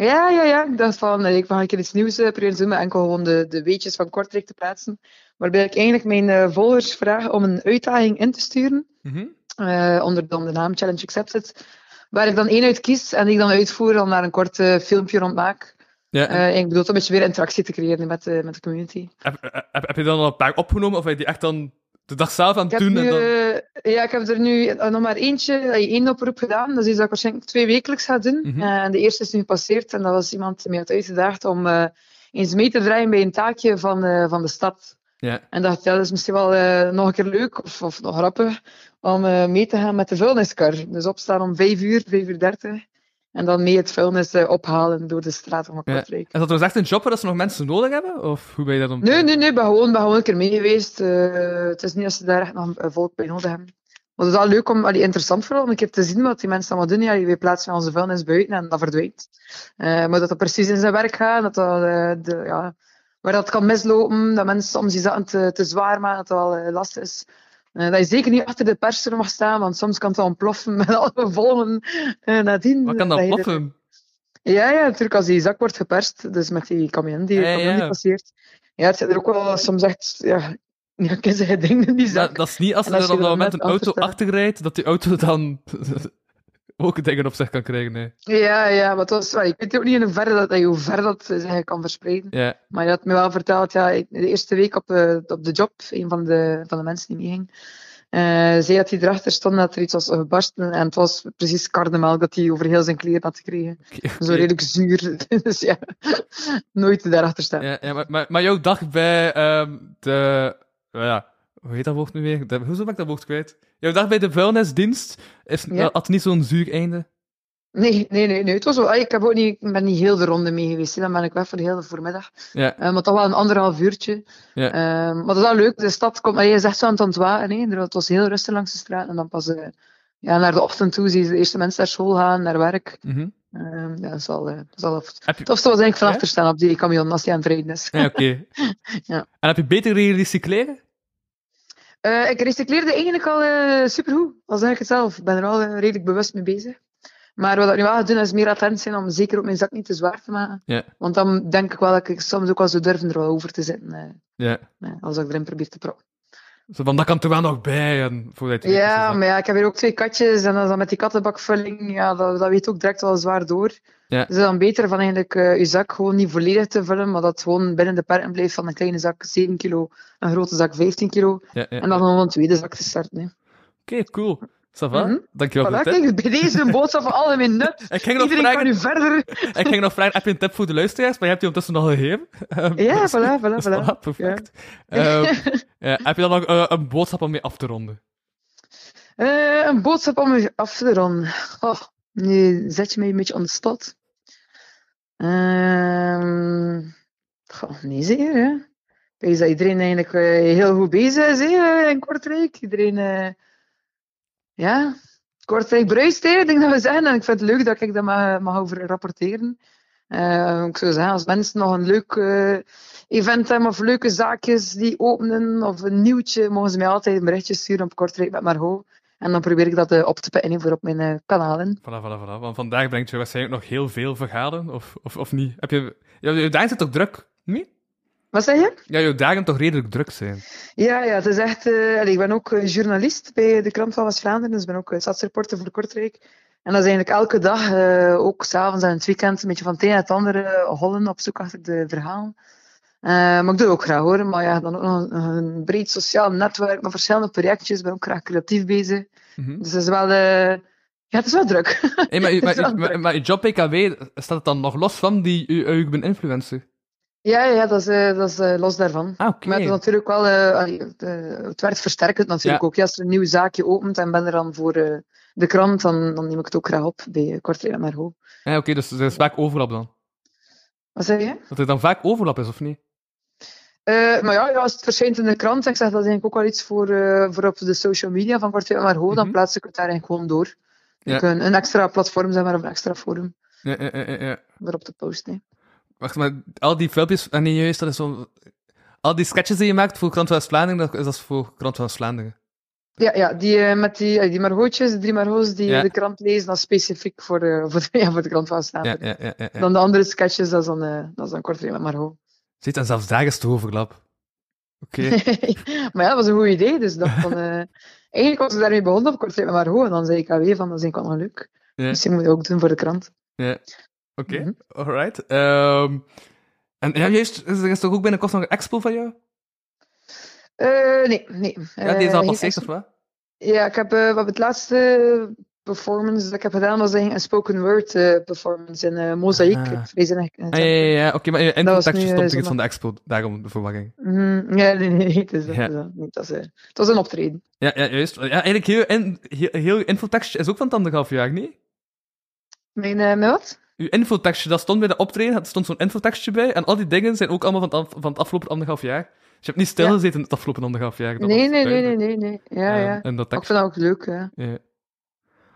[SPEAKER 7] Ja, ja, ja. Ik dacht van, eh, ik mag een keer iets nieuws eh, proberen te doen, maar enkel gewoon de, de weetjes van Kortrijk te plaatsen. Waarbij ik eigenlijk mijn eh, volgers vraag om een uitdaging in te sturen,
[SPEAKER 3] Mhm.
[SPEAKER 7] eh, onder dan de naam Challenge Accepted, waar ik dan één uit kies en die ik dan uitvoer en dan daar een kort eh, filmpje rond maak.
[SPEAKER 3] ja en
[SPEAKER 7] Eh, en ik bedoel, om een beetje weer interactie te creëren met, eh, met de community.
[SPEAKER 3] heb, heb, heb je dan al een paar opgenomen, of heb je die echt dan de dag zelf aan
[SPEAKER 7] Ik
[SPEAKER 3] het
[SPEAKER 7] heb,
[SPEAKER 3] doen?
[SPEAKER 7] nu,
[SPEAKER 3] en dan...
[SPEAKER 7] eh, ja, ik heb er nu eh, nog maar eentje, eh, één oproep gedaan. Dat is iets dat ik waarschijnlijk twee wekelijks ga doen.
[SPEAKER 3] Mhm.
[SPEAKER 7] En de eerste is nu gepasseerd en dat was iemand die mij had uitgedaagd om eh, eens mee te draaien bij een taakje van, eh, van de stad.
[SPEAKER 3] Ja.
[SPEAKER 7] En dacht, ja, dat is misschien wel eh, nog een keer leuk of, of nog grappig om eh, mee te gaan met de vuilniskar. Dus opstaan om vijf uur, vijf uur dertig. En dan mee het vuilnis eh, ophalen door de straat van
[SPEAKER 3] Ja.
[SPEAKER 7] Kortrijk.
[SPEAKER 3] En dat er dus echt een job waar dat ze nog mensen nodig hebben? Of hoe ben je dat om...
[SPEAKER 7] Nee, nee, nee, ik ben gewoon, ben gewoon een keer mee geweest. Eh, het is niet dat ze daar echt nog een- een volk bij nodig hebben. Maar het is wel leuk om, allee, interessant vooral, om een keer te zien wat die mensen allemaal doen. Ja, wij plaatsen onze vuilnis buiten en dat verdwijnt. Eh, maar dat dat precies in zijn werk gaat, dat dat, eh, de, ja, waar dat kan mislopen, dat mensen soms die zaken te, te zwaar maken, dat dat wel eh, last is. Eh, dat je zeker niet achter de persen mag staan, want soms kan het wel ontploffen met alle gevolgen eh, nadien.
[SPEAKER 3] Wat kan dat
[SPEAKER 7] je er-
[SPEAKER 3] ploffen?
[SPEAKER 7] ja, ja, natuurlijk als die zak wordt geperst, dus met die camion die,
[SPEAKER 3] Ja, ja,
[SPEAKER 7] camion
[SPEAKER 3] ja.
[SPEAKER 7] die passeert. Ja, het zit er ook wel soms echt, ja, ja kenzijdige dingen in die zak.
[SPEAKER 3] Dat, dat is niet als
[SPEAKER 7] En
[SPEAKER 3] er
[SPEAKER 7] als
[SPEAKER 3] dan op
[SPEAKER 7] je
[SPEAKER 3] dat
[SPEAKER 7] dan
[SPEAKER 3] moment een
[SPEAKER 7] net
[SPEAKER 3] auto
[SPEAKER 7] achterstaat.
[SPEAKER 3] achterrijdt, dat die auto dan ook dingen op zich kan krijgen. Nee.
[SPEAKER 7] Ja, ja, maar het was, wel- ik weet ook niet in hoeverre dat, hoe ver dat eh, zich kan verspreiden.
[SPEAKER 3] Ja.
[SPEAKER 7] Maar je had me wel verteld, ja, ik- de eerste week op, eh, op de job, een van de, van de mensen die meeging, eh, zei dat hij erachter stond dat er iets was gebarsten. En het was precies karnemelk dat hij over heel zijn kleren had gekregen. Zo redelijk zuur. Dus ja, nooit daarachter staan.
[SPEAKER 3] Ja, ja, maar, maar, maar jouw dag bij ehm, de... nou ja, hoe heet dat woord nu weer? De, hoezo ben ik dat woord kwijt? Jouw dag bij de vuilnisdienst is, eh,
[SPEAKER 7] Ja.
[SPEAKER 3] had niet zo'n zuur einde.
[SPEAKER 7] Nee, nee, nee, nee. Het was wel, ah, ik, heb ook niet, ik ben niet heel de ronde mee geweest. hè. Dan ben ik weg voor de hele voormiddag.
[SPEAKER 3] Ja.
[SPEAKER 7] Eh, maar toch wel een anderhalf uurtje.
[SPEAKER 3] Ja.
[SPEAKER 7] Ehm, maar dat is wel leuk. De stad komt, maar je zegt zo aan het ontwaken. hè. Het was heel rustig langs de straat. En dan pas eh, ja, naar de ochtend toe zie je de eerste mensen naar school gaan, naar werk.
[SPEAKER 3] Mhm.
[SPEAKER 7] Ehm, ja, dat is wel, eh, dat is wel tof.
[SPEAKER 3] Heb je-
[SPEAKER 7] Het tofste was eigenlijk van
[SPEAKER 3] Ja?
[SPEAKER 7] achter staan op die camion als die aan het rijden is.
[SPEAKER 3] Ja, oké.
[SPEAKER 7] Ja.
[SPEAKER 3] En heb je beter leren recycleren?
[SPEAKER 7] Eh, ik recycleerde eigenlijk al eh, supergoed. Al zeg ik het zelf. Ik ben er al eh, redelijk bewust mee bezig. Maar wat ik nu wel ga doen, is meer attent zijn om zeker ook mijn zak niet te zwaar te maken.
[SPEAKER 3] Ja.
[SPEAKER 7] Want dan denk ik wel dat ik soms ook wel zou durven er wel over te zitten. eh,
[SPEAKER 3] Ja.
[SPEAKER 7] eh, als ik erin probeer te proppen.
[SPEAKER 3] Zo van, dat kan er wel nog bij. En, voordat je het weet, is
[SPEAKER 7] Ja,
[SPEAKER 3] dat-
[SPEAKER 7] maar ja, ik heb hier ook twee katjes en dat is dan met die kattenbakvulling, ja, dat, dat weet ook direct wel zwaar door. Dus
[SPEAKER 3] Ja.
[SPEAKER 7] Is het dan beter van eigenlijk eh, je zak gewoon niet volledig te vullen, maar dat het gewoon binnen de perken blijft van een kleine zak 7 kilo, een grote zak 15 kilo
[SPEAKER 3] ja, ja,
[SPEAKER 7] en dan
[SPEAKER 3] ja.
[SPEAKER 7] gewoon een tweede zak te starten. Hè.
[SPEAKER 3] Oké, cool. Ça va?
[SPEAKER 7] Mhm.
[SPEAKER 3] Dankjewel voor
[SPEAKER 7] Voilà,
[SPEAKER 3] de tip.
[SPEAKER 7] kijk, bij deze een boodschap van al mijn nut.
[SPEAKER 3] Ik ging, nog
[SPEAKER 7] Iedereen kan
[SPEAKER 3] vragen,
[SPEAKER 7] nu verder.
[SPEAKER 3] ik ging nog vragen, heb je een tip voor de luisteraars? Maar je hebt die ondertussen al gegeven. Ehm,
[SPEAKER 7] Ja,
[SPEAKER 3] dus-
[SPEAKER 7] voilà, voilà,
[SPEAKER 3] dus
[SPEAKER 7] voilà.
[SPEAKER 3] voilà, perfect. Ehm, eh, heb je dan nog eh, een boodschap om mee af te ronden?
[SPEAKER 7] Eh, een boodschap om u af te ronden. Oh, nu zet je mij een beetje on the spot. Ehm, goh, nee, zeker. Hè. Ik denk dat iedereen eigenlijk eh, heel goed bezig is hè, eh, in Kortrijk. Iedereen, eh, ja, Kortrijk bruist, hè, ik denk dat we zeggen. En ik vind het leuk dat ik daar mag, mag over rapporteren. Eh, ik zou zeggen, als mensen nog een leuk eh, event hebben of leuke zaakjes die openen of een nieuwtje, mogen ze mij altijd een berichtje sturen op Kortrijk met Margot. En dan probeer ik dat eh, op te pikken hè, voor op mijn eh, kanalen.
[SPEAKER 3] Voilà, voilà, voilà. Want vandaag brengt je waarschijnlijk nog heel veel vergaderen, of, of, of niet? Heb je, ja, je dagen zijn toch druk? Nee?
[SPEAKER 7] Wat zeg je?
[SPEAKER 3] Ja, je dagen toch redelijk druk zijn.
[SPEAKER 7] Ja, ja het is echt. eh, allee, ik ben ook eh, journalist bij de Krant van West-Vlaanderen, dus ik ben ook eh, stadsreporter voor Kortrijk. En dat is eigenlijk elke dag, eh, ook s'avonds en in het weekend, een beetje van het een en het andere eh, hollen op zoek achter de verhaal. Eh, maar ik doe het ook graag hoor. Maar ja, dan ook nog een, een breed sociaal netwerk met verschillende projectjes. Ik ben ook graag creatief bezig.
[SPEAKER 3] Mhm.
[SPEAKER 7] Dus het is wel, eh, ja, het is wel druk.
[SPEAKER 3] Hey, maar, je- maar,
[SPEAKER 7] Het is wel
[SPEAKER 3] je- maar,
[SPEAKER 7] druk.
[SPEAKER 3] maar je job PKW, staat het dan nog los van die, u- u- ik ben influencer?
[SPEAKER 7] ja, ja, dat is, eh, dat is eh, los daarvan.
[SPEAKER 3] Ah, oké.
[SPEAKER 7] Maar het is natuurlijk wel, eh, allee, het, eh, het werkt versterkend natuurlijk
[SPEAKER 3] Ja.
[SPEAKER 7] ook. Ja, als er een nieuw zaakje opent en ben er dan voor eh, de krant, dan, dan neem ik het ook graag op bij eh, Kortrijk en Margot.
[SPEAKER 3] Ja, oké, dus er is vaak overlap dan.
[SPEAKER 7] Wat zeg je?
[SPEAKER 3] Dat er dan vaak overlap is, of niet?
[SPEAKER 7] Eh, maar ja, ja, als het verschijnt in de krant, ik zeg dat is eigenlijk ook wel iets voor, eh, voor op de social media van Kortrijk en Margot,
[SPEAKER 3] Mhm.
[SPEAKER 7] dan plaats ik het daar eigenlijk gewoon door.
[SPEAKER 3] Ja.
[SPEAKER 7] Ik, eh, een, een extra platform, zeg maar, of een extra forum
[SPEAKER 3] Ja, ja, ja, ja, ja.
[SPEAKER 7] waarop te posten. hè.
[SPEAKER 3] Wacht, maar al die filmpjes, en nee, juist, dat is zo... Al die sketches die je maakt voor Krant van West-Vlaanderen, dat is dat voor Krant van West-Vlaanderen.
[SPEAKER 7] Ja, ja die, eh, met die, eh, die Margotjes, de drie Margots die
[SPEAKER 3] Ja.
[SPEAKER 7] de krant lezen, dat is specifiek voor, eh, voor, de, ja, voor de krant van staan.
[SPEAKER 3] Ja, ja, ja, ja, ja.
[SPEAKER 7] Dan de andere sketches, dat is dan, eh dat is dan Kortrijk met Margot.
[SPEAKER 3] Ziet, en zelfs daar is het overlap. Oké.
[SPEAKER 7] maar ja, dat was een goed idee. Dus ik dacht van, eh, eigenlijk was ik daarmee begonnen op Kortrijk met Margot. En dan zei ik alweer van, dat is eigenlijk wel nog leuk.
[SPEAKER 3] Ja.
[SPEAKER 7] Misschien moet Dus ik dat ook doen voor de krant.
[SPEAKER 3] Oké,
[SPEAKER 7] Mhm.
[SPEAKER 3] alright. Ehm, en ja, juist, is er is toch ook binnenkort nog een expo van jou?
[SPEAKER 7] Eh, nee, nee.
[SPEAKER 3] Ja, die is al
[SPEAKER 7] Eh,
[SPEAKER 3] passeerd,
[SPEAKER 7] geen-
[SPEAKER 3] of wat?
[SPEAKER 7] Ja, ik heb, eh, wat het laatste performance dat ik heb gedaan was eigenlijk een spoken word eh, performance in eh Mozaïek.
[SPEAKER 3] Ah.
[SPEAKER 7] Het vreselijk-
[SPEAKER 3] Ah, ja, ja, ja. Oké, maar in
[SPEAKER 7] Dat
[SPEAKER 3] de
[SPEAKER 7] was
[SPEAKER 3] tekstje
[SPEAKER 7] nu, eh,
[SPEAKER 3] stond er iets
[SPEAKER 7] zondag.
[SPEAKER 3] van de expo, daarom de verwarring.
[SPEAKER 7] Mhm, ja, nee, nee, het is dat.
[SPEAKER 3] Ja.
[SPEAKER 7] het is dat. Nee, het, was, eh, het was een optreden.
[SPEAKER 3] Ja, ja, juist. Ja, eigenlijk heel, in, heel, heel uw infotekstje is ook van het anderhalf jaar, niet?
[SPEAKER 7] Mijn, eh, mijn wat?
[SPEAKER 3] Uw infotekstje, dat stond bij de optreden, er stond zo'n infotekstje bij, en al die dingen zijn ook allemaal van het, af- van het afgelopen anderhalf jaar. Dus je hebt niet stilgezeten in het afgelopen anderhalf jaar. dat
[SPEAKER 7] Nee,
[SPEAKER 3] was
[SPEAKER 7] nee, nee, nee,
[SPEAKER 3] duidelijk.
[SPEAKER 7] nee, nee. Ja,
[SPEAKER 3] Ehm,
[SPEAKER 7] ja.
[SPEAKER 3] En dat
[SPEAKER 7] Ik
[SPEAKER 3] tekstje.
[SPEAKER 7] vind dat ook leuk, ja.
[SPEAKER 3] Ja.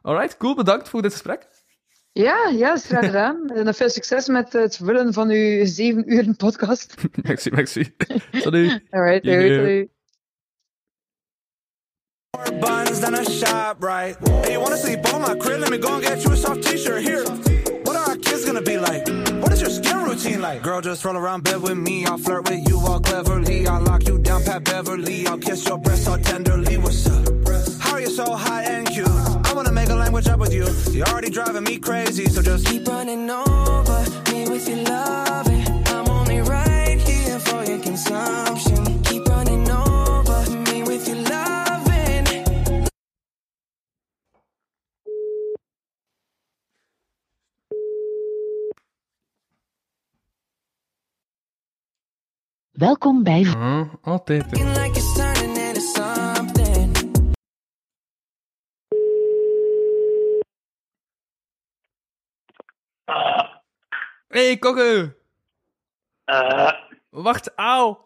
[SPEAKER 3] Alright, cool, bedankt voor dit gesprek.
[SPEAKER 7] Ja, ja, is graag gedaan. En dan veel succes met het vullen van uw zeven uren podcast.
[SPEAKER 3] merci, merci. Salut.
[SPEAKER 7] Alright,
[SPEAKER 3] Yeah.
[SPEAKER 7] doei, doei.
[SPEAKER 2] More buns than a shop, right? Hey, you wanna sleep on my crib? Let me go and get you a soft t-shirt here. What are our kids gonna be like? What is your skin routine like? Girl, just roll around bed with me. I'll flirt with you all cleverly. I'll lock you down, Pat Beverly. I'll kiss your breasts all tenderly. What's up? How are you so hot and cute? I wanna make a language up with you. You're already driving me crazy, so just
[SPEAKER 4] Keep running over me with your loving. I'm only right here for your consumption. Keep running over me with your loving.
[SPEAKER 8] Welkom bij
[SPEAKER 3] Ah, altijd. hè.
[SPEAKER 4] Looking like it's turning into something.
[SPEAKER 3] Hey, kokke!
[SPEAKER 1] Eh,
[SPEAKER 3] Wacht, auw!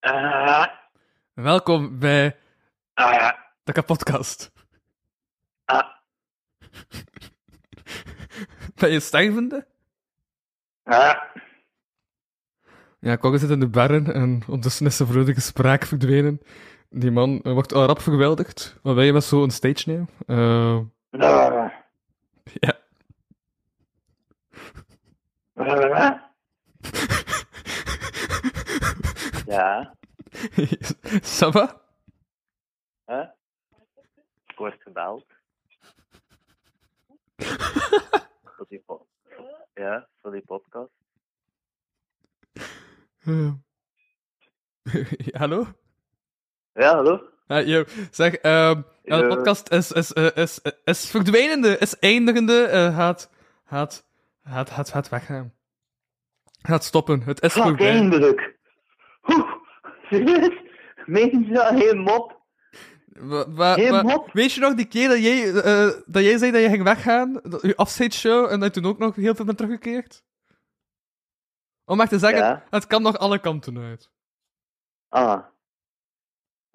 [SPEAKER 1] eh,
[SPEAKER 3] Welkom bij
[SPEAKER 1] eh,
[SPEAKER 3] de kapotkast.
[SPEAKER 1] eh,
[SPEAKER 3] Ben je stervende?
[SPEAKER 1] eh.
[SPEAKER 3] Ja, kokke zit in de barren en ondertussen is zijn vrolijke spraak verdwenen. Die man eh, wordt al rap vergeweldigd, maar wij met zo'n stage nemen. Eh,
[SPEAKER 1] Eh,
[SPEAKER 3] ja.
[SPEAKER 1] eh. Ja,
[SPEAKER 3] Saba?
[SPEAKER 1] Hè? Ik word gebeld. voor die po- ja, voor die podcast.
[SPEAKER 3] Hallo?
[SPEAKER 1] Ja, hallo?
[SPEAKER 3] Ah, yo. Zeg, ehm, ja, de
[SPEAKER 1] Eh.
[SPEAKER 3] podcast is, is, eh, is, is, verdwijnende, is eindigende, eh, gaat, gaat, gaat, gaat, gaat weggaan. Gaat stoppen, het is
[SPEAKER 1] Fuck,
[SPEAKER 3] voorbij.
[SPEAKER 1] eindelijk! Oeh, serieus? Meen je dat? Geen mop?
[SPEAKER 3] Wa- wa-
[SPEAKER 1] Hey,
[SPEAKER 3] wa-
[SPEAKER 1] mop.
[SPEAKER 3] weet je nog die keer dat jij, eh, dat jij zei dat je ging weggaan, dat, je afscheidsshow, en dat je toen ook nog heel veel bent teruggekeerd? Om echt te zeggen,
[SPEAKER 1] Ja.
[SPEAKER 3] het kan nog alle kanten uit.
[SPEAKER 1] Ah.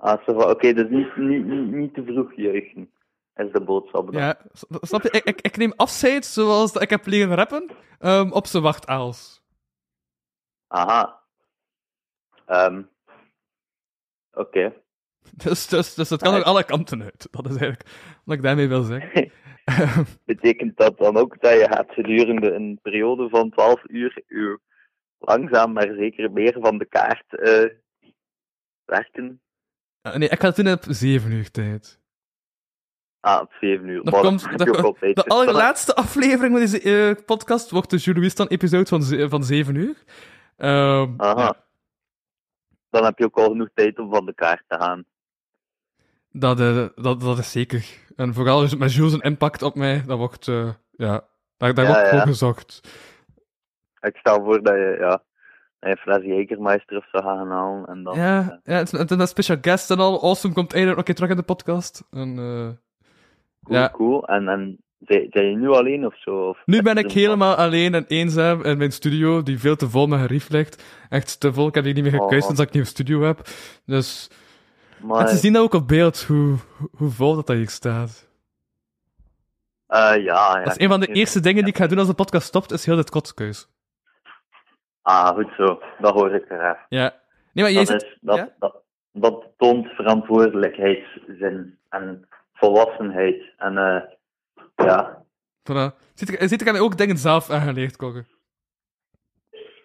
[SPEAKER 1] Ah, ça va. oké, dus niet, niet, niet, niet te vroeg juichen. Is de boodschap dan.
[SPEAKER 3] Ja, s- snap je? Ik, ik, ik neem afscheid zoals dat ik heb leren rappen, ehm, op zijn wachtaals.
[SPEAKER 1] Aha. Ehm. Oké.
[SPEAKER 3] Dus, dus, dus
[SPEAKER 1] Ah,
[SPEAKER 3] dat kan ook alle kanten uit. Dat is eigenlijk wat ik daarmee wil zeggen. Ehm,
[SPEAKER 1] Betekent dat dan ook dat je gaat gedurende een periode van 12 uur je langzaam maar zeker meer van de kaart eh, werken?
[SPEAKER 3] eh, nee, ik ga het doen op zeven uur tijd.
[SPEAKER 1] Ah, op 7 uur.
[SPEAKER 3] Dat
[SPEAKER 1] Maar
[SPEAKER 3] komt-
[SPEAKER 1] heb
[SPEAKER 3] dat
[SPEAKER 1] je ook
[SPEAKER 3] komt-
[SPEAKER 1] altijd.
[SPEAKER 3] De
[SPEAKER 1] Dus dan-
[SPEAKER 3] allerlaatste aflevering van deze eh, podcast wordt de Jules dan episode van, ze- van zeven uur. Ehm,
[SPEAKER 1] Aha.
[SPEAKER 3] ja,
[SPEAKER 1] Dan heb je ook al genoeg tijd om van de kaart te gaan.
[SPEAKER 3] dat, eh, dat, dat is zeker. En vooral is het met Jules' een impact op mij, dat wordt, eh, ja, daar, daar
[SPEAKER 1] Ja,
[SPEAKER 3] wordt voor
[SPEAKER 1] ja.
[SPEAKER 3] gezocht.
[SPEAKER 1] Ik stel voor dat je, ja, dat je een fles Jägermeister of zo gaat gaan halen. En dan, eh,
[SPEAKER 3] Ja, ja het is- het is een special guest en al. Awesome komt eindelijk nog een keer terug in de podcast. En, eh,
[SPEAKER 1] cool,
[SPEAKER 3] ja.
[SPEAKER 1] cool. En, en zijn, zijn je nu alleen of zo? Of
[SPEAKER 3] Nu
[SPEAKER 1] heb
[SPEAKER 3] ben
[SPEAKER 1] je
[SPEAKER 3] ik
[SPEAKER 1] een-
[SPEAKER 3] helemaal alleen en eenzaam in mijn studio, die veel te vol met gerief ligt. Echt te vol, ik heb die niet meer gekuist
[SPEAKER 1] Oh.
[SPEAKER 3] sinds dat ik een nieuwe studio heb. Dus
[SPEAKER 1] Amai.
[SPEAKER 3] mensen zien dat ook op beeld, hoe, hoe- hoe vol dat, dat hier staat.
[SPEAKER 1] Eh, ja, ja.
[SPEAKER 3] dat is een van de
[SPEAKER 1] ik-
[SPEAKER 3] eerste dingen die ik ga doen als de podcast stopt, is heel dit kotskeus.
[SPEAKER 1] Ah, goed zo. Dat hoor ik graag.
[SPEAKER 3] Ja. Nee, maar jij
[SPEAKER 1] Dat,
[SPEAKER 3] zit...
[SPEAKER 1] is, dat,
[SPEAKER 3] ja?
[SPEAKER 1] dat, dat toont verantwoordelijkheidszin en volwassenheid. En eh, ja,
[SPEAKER 3] Voilà. Zit ik, zit ik aan mij ook dingen zelf aangeleerd, Kokke.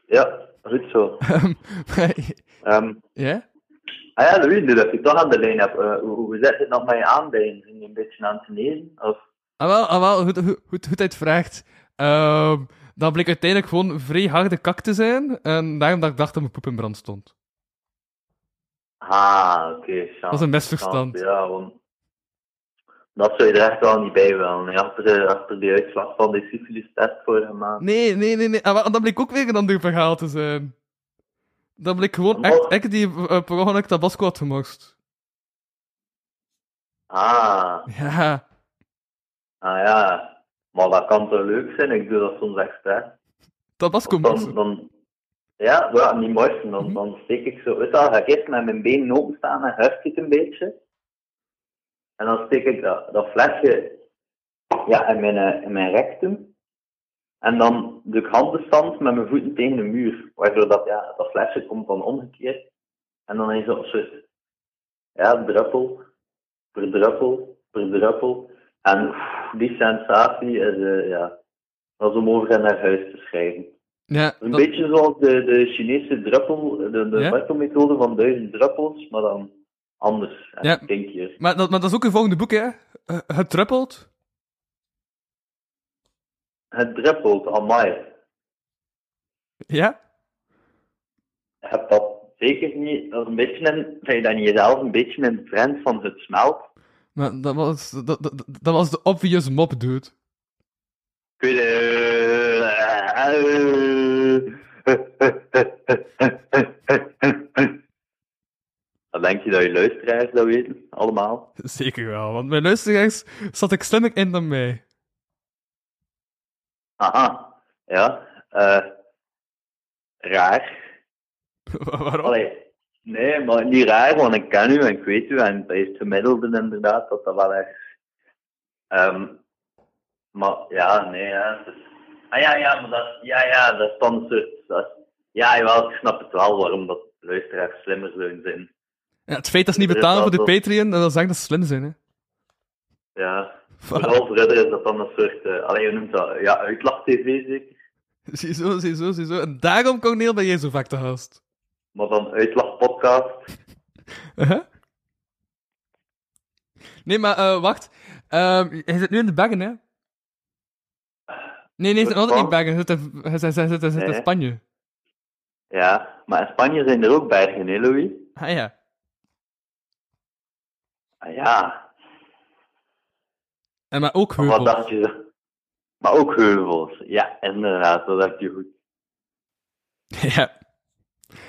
[SPEAKER 1] ja, goed zo.
[SPEAKER 3] Maar-
[SPEAKER 1] Ehm,
[SPEAKER 3] ja?
[SPEAKER 1] ah ja, Louis, nu dat ik toch aan de lijn heb, eh, hoe, hoe zit het nog met je aanbijen? Zijn je een beetje aan het nemen? Of...
[SPEAKER 3] Ah, wel, ah, wel, goed, goed, goed, goed uitvraagt. Ehm, dat bleek uiteindelijk gewoon vrij harde kak te zijn. En daarom dat ik dacht dat mijn poep in brand stond.
[SPEAKER 1] Ah, oké.
[SPEAKER 3] Dat is een misverstand.
[SPEAKER 1] Ja, want dat zou je er echt wel niet bij willen. hè. Achter, de- achter die uitslag van die syfilis-test vorige maand.
[SPEAKER 3] Nee, nee, nee, nee. Ah, wel, dat bleek ook weer een ander verhaal te zijn. Dat bleek gewoon echt, ik die eh, per ongeluk tabasco had gemorst.
[SPEAKER 1] Ah,
[SPEAKER 3] Ja.
[SPEAKER 1] ah ja. Maar dat kan toch leuk zijn? Ik doe dat soms expres.
[SPEAKER 3] Tabasco
[SPEAKER 1] Dan,
[SPEAKER 3] morsen.
[SPEAKER 1] dan, ja, ja, niet morsen. Dan, dan steek ik zo uit. Dan ga ik eerst met mijn been openstaan en heft ik een beetje. En dan steek ik dat, dat flesje ja, in, mijn, eh, in mijn rectum. En dan doe ik handenstand met mijn voeten tegen de muur. Waardoor dat, ja, dat flesje komt dan omgekeerd. En dan is dat een soort ja, druppel per druppel per druppel. En oef, die sensatie is, eh, ja, dat is om over en naar huis te schrijven.
[SPEAKER 3] Ja,
[SPEAKER 1] Een
[SPEAKER 3] dat-
[SPEAKER 1] beetje zoals de, de Chinese druppel, de, de
[SPEAKER 3] Ja?
[SPEAKER 1] druppelmethode van duizend druppels, maar dan anders. En
[SPEAKER 3] Ja.
[SPEAKER 1] denk je.
[SPEAKER 3] maar, dat, maar dat is ook uw volgende boek, hè? Eh, Het druppelt.
[SPEAKER 1] Het druppelt, amai.
[SPEAKER 3] Ja?
[SPEAKER 1] Je hebt dat zeker niet, dat is een beetje in, vind je dat niet jezelf een beetje in de trend van het smelt?
[SPEAKER 3] Maar dat was, dat, dat, dat- dat was de obvious mop, dude.
[SPEAKER 1] Kun je... Dan denk je dat je luisteraars dat weten, allemaal.
[SPEAKER 3] Zeker wel, want mijn luisteraars zat ik slimmer in dan mij.
[SPEAKER 1] Aha, ja. eh, raar.
[SPEAKER 3] Waarom?
[SPEAKER 1] Allee, nee, maar niet raar, want ik ken u en ik weet u en dat is het gemiddelde inderdaad dat dat wel erg. Ehm, maar ja, nee, ja. het is- ah ja, ja, maar dat, ja, ja, dat is dan een soort. Dat is- ja, jawel, ik snap het wel waarom dat luisteraars slimmer zouden zijn.
[SPEAKER 3] Ja, het feit dat ze niet betalen voor de Patreon, dat wil zeggen dat ze slim zijn, hè?
[SPEAKER 1] Ja.
[SPEAKER 3] Voilà.
[SPEAKER 1] Vooral verder is dat dan een soort. eh allee, je noemt dat. Ja, uitlach-tv zeker.
[SPEAKER 3] Ziezo, ziezo, ziezo. En daarom, Corneel, ben jij zo vaak te gast.
[SPEAKER 1] Maar dan uitlach-podcast.
[SPEAKER 3] Uh-huh. Nee, maar eh, wacht. Ehm hij zit nu in de baggen, hè? Nee, nee, hij zit nog altijd niet baggen. Hij zit in, hij zit, hij zit, hij zit in
[SPEAKER 1] Nee.
[SPEAKER 3] Spanje.
[SPEAKER 1] Ja, maar in Spanje zijn er ook bergen, hè, Louis?
[SPEAKER 3] Ah ja.
[SPEAKER 1] Ah, ja,
[SPEAKER 3] En maar ook
[SPEAKER 1] wat
[SPEAKER 3] heuvels.
[SPEAKER 1] dacht je? Maar ook heuvels. Ja, inderdaad, dat heb je goed.
[SPEAKER 3] ja.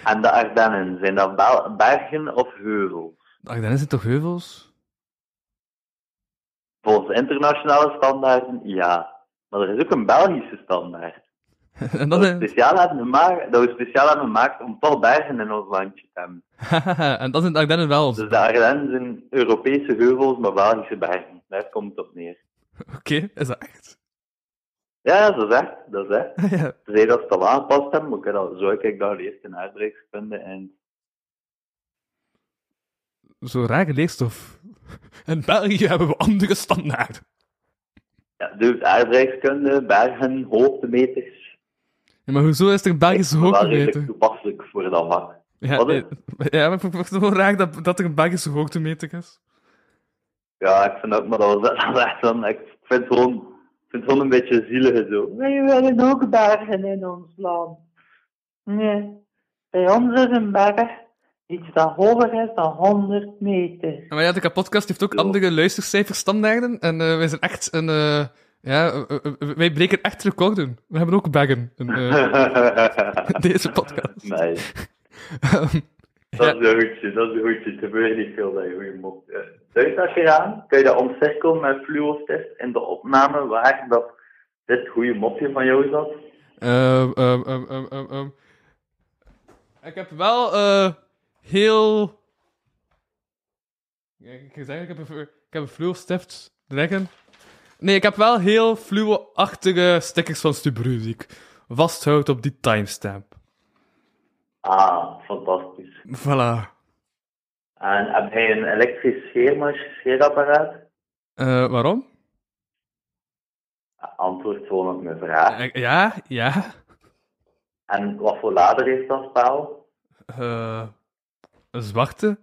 [SPEAKER 1] En de Ardennen, zijn dat bel- bergen of heuvels?
[SPEAKER 3] Ach, dan is het toch heuvels?
[SPEAKER 1] Volgens internationale standaarden, ja. Maar er is ook een Belgische standaard.
[SPEAKER 3] en dan...
[SPEAKER 1] Dat we
[SPEAKER 3] eh,
[SPEAKER 1] speciaal hebben gemaakt, dat we speciaal hebben gemaakt om toch bergen in ons landje te hebben.
[SPEAKER 3] en dan zijn de Ardennen wel onze.
[SPEAKER 1] Dus de Ardennen zijn Europese heuvels, maar Belgische bergen. Daar komt het op neer.
[SPEAKER 3] Oké, is dat echt?
[SPEAKER 1] Ja, dat is echt. Dat is echt.
[SPEAKER 3] ja.
[SPEAKER 1] Ze zei dat ze het al aangepast hebben, maar ik heb dat, zo heb ik dat eerst in aardrijkskunde en...
[SPEAKER 3] Zo rare leerstof. In België hebben we andere standaarden.
[SPEAKER 1] Ja, dus aardrijkskunde, bergen, hoogtemeters.
[SPEAKER 3] Ja, maar hoezo is er Belgische
[SPEAKER 1] Wel redelijk
[SPEAKER 3] hoogtemeter?
[SPEAKER 1] toepasselijk voor dat vak.
[SPEAKER 3] Ja,
[SPEAKER 1] Wat is-
[SPEAKER 3] eh, ja, maar ik vond het wel raar dat, dat er een Belgische hoogtemeter is.
[SPEAKER 1] Ja, ik vind ook, maar dat was dat was echt dan... Ik vind het gewoon, ik vind het gewoon een beetje zielig zo. Wij willen ook bergen in ons land. Nee, bij ons is een berg iets dat hoger is dan 100 meter.
[SPEAKER 3] Ja, Maar ja, de podcast heeft ook
[SPEAKER 1] Ja.
[SPEAKER 3] andere luistercijferstandaarden. En eh, wij zijn echt een. eh, ja, eh, eh, wij breken echt recorden. We hebben ook baggen in eh, deze podcast.
[SPEAKER 1] nee,
[SPEAKER 3] Ehm,
[SPEAKER 1] dat is een goedje, dat is een goedje. Het gebeurt niet veel dat je goede mop. eh, Thuis als je aan, kun je dat omcirkelen met fluostift in de opname waar dat dit goede mopje van jou zat.
[SPEAKER 3] ehm, ehm, ehm, ehm, ehm, ehm. Ik heb wel eh, heel. Ja, Ik kan zeggen, ik heb een, flu- ik heb een fluo-stift leggen. Nee, ik heb wel heel fluo-achtige stickers van Stubru die ik vasthoud op die timestamp.
[SPEAKER 1] Ah, fantastisch.
[SPEAKER 3] Voilà.
[SPEAKER 1] En heb jij een elektrisch scheermachine, scheerapparaat?
[SPEAKER 3] Eh, waarom?
[SPEAKER 1] Antwoord gewoon op mijn vraag.
[SPEAKER 3] Eh, Ja, ja.
[SPEAKER 1] En wat voor lader heeft dat spel?
[SPEAKER 3] Eh, een zwarte?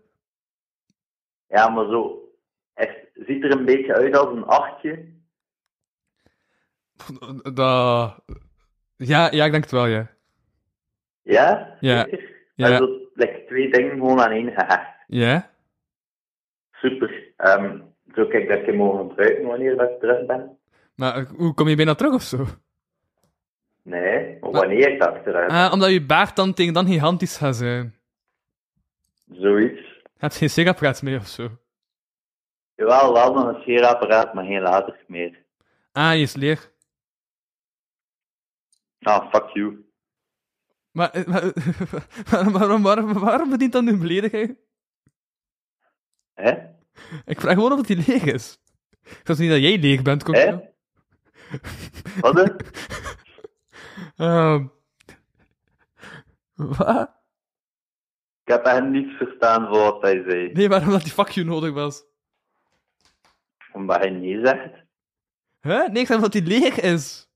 [SPEAKER 1] Ja, maar zo. Het ziet er een beetje uit als een achtje.
[SPEAKER 3] Da... Ja, ja, ik denk het wel, ja.
[SPEAKER 1] Ja?
[SPEAKER 3] Ja,
[SPEAKER 1] Zeker?
[SPEAKER 3] ja.
[SPEAKER 1] En zo, like, twee dingen gewoon aan één gehecht.
[SPEAKER 3] Ja?
[SPEAKER 1] Super. Ehm, zo kijk dat ik je mogen gebruiken wanneer dat ik terug ben.
[SPEAKER 3] Maar eh, hoe kom je bijna terug of zo?
[SPEAKER 1] Nee, maar wanneer dat ik terug ben.
[SPEAKER 3] Ah, omdat je baard dan tegen dan gigantisch gaat zijn.
[SPEAKER 1] Zoiets.
[SPEAKER 3] Je hebt geen sigapraat mee of zo.
[SPEAKER 1] Jawel, wel nog een scheerapparaat, maar geen laders meer.
[SPEAKER 3] Ah, je is leeg.
[SPEAKER 1] Ah, fuck you.
[SPEAKER 3] Maar, eh, maar waarom, waarom, waarom, waarom bedient dat nu een belediging?
[SPEAKER 1] Hè?
[SPEAKER 3] Ik vraag gewoon of het die leeg is. Ik was niet dat jij leeg bent, kom
[SPEAKER 1] Hè? Wat? hè?
[SPEAKER 3] Ehm. Wat?
[SPEAKER 1] Ik heb echt niets verstaan van wat hij zei.
[SPEAKER 3] Nee, waarom dat die fuck you nodig was.
[SPEAKER 1] Omdat hij nee zegt.
[SPEAKER 3] Huh? Nee, ik zei dat die leeg is.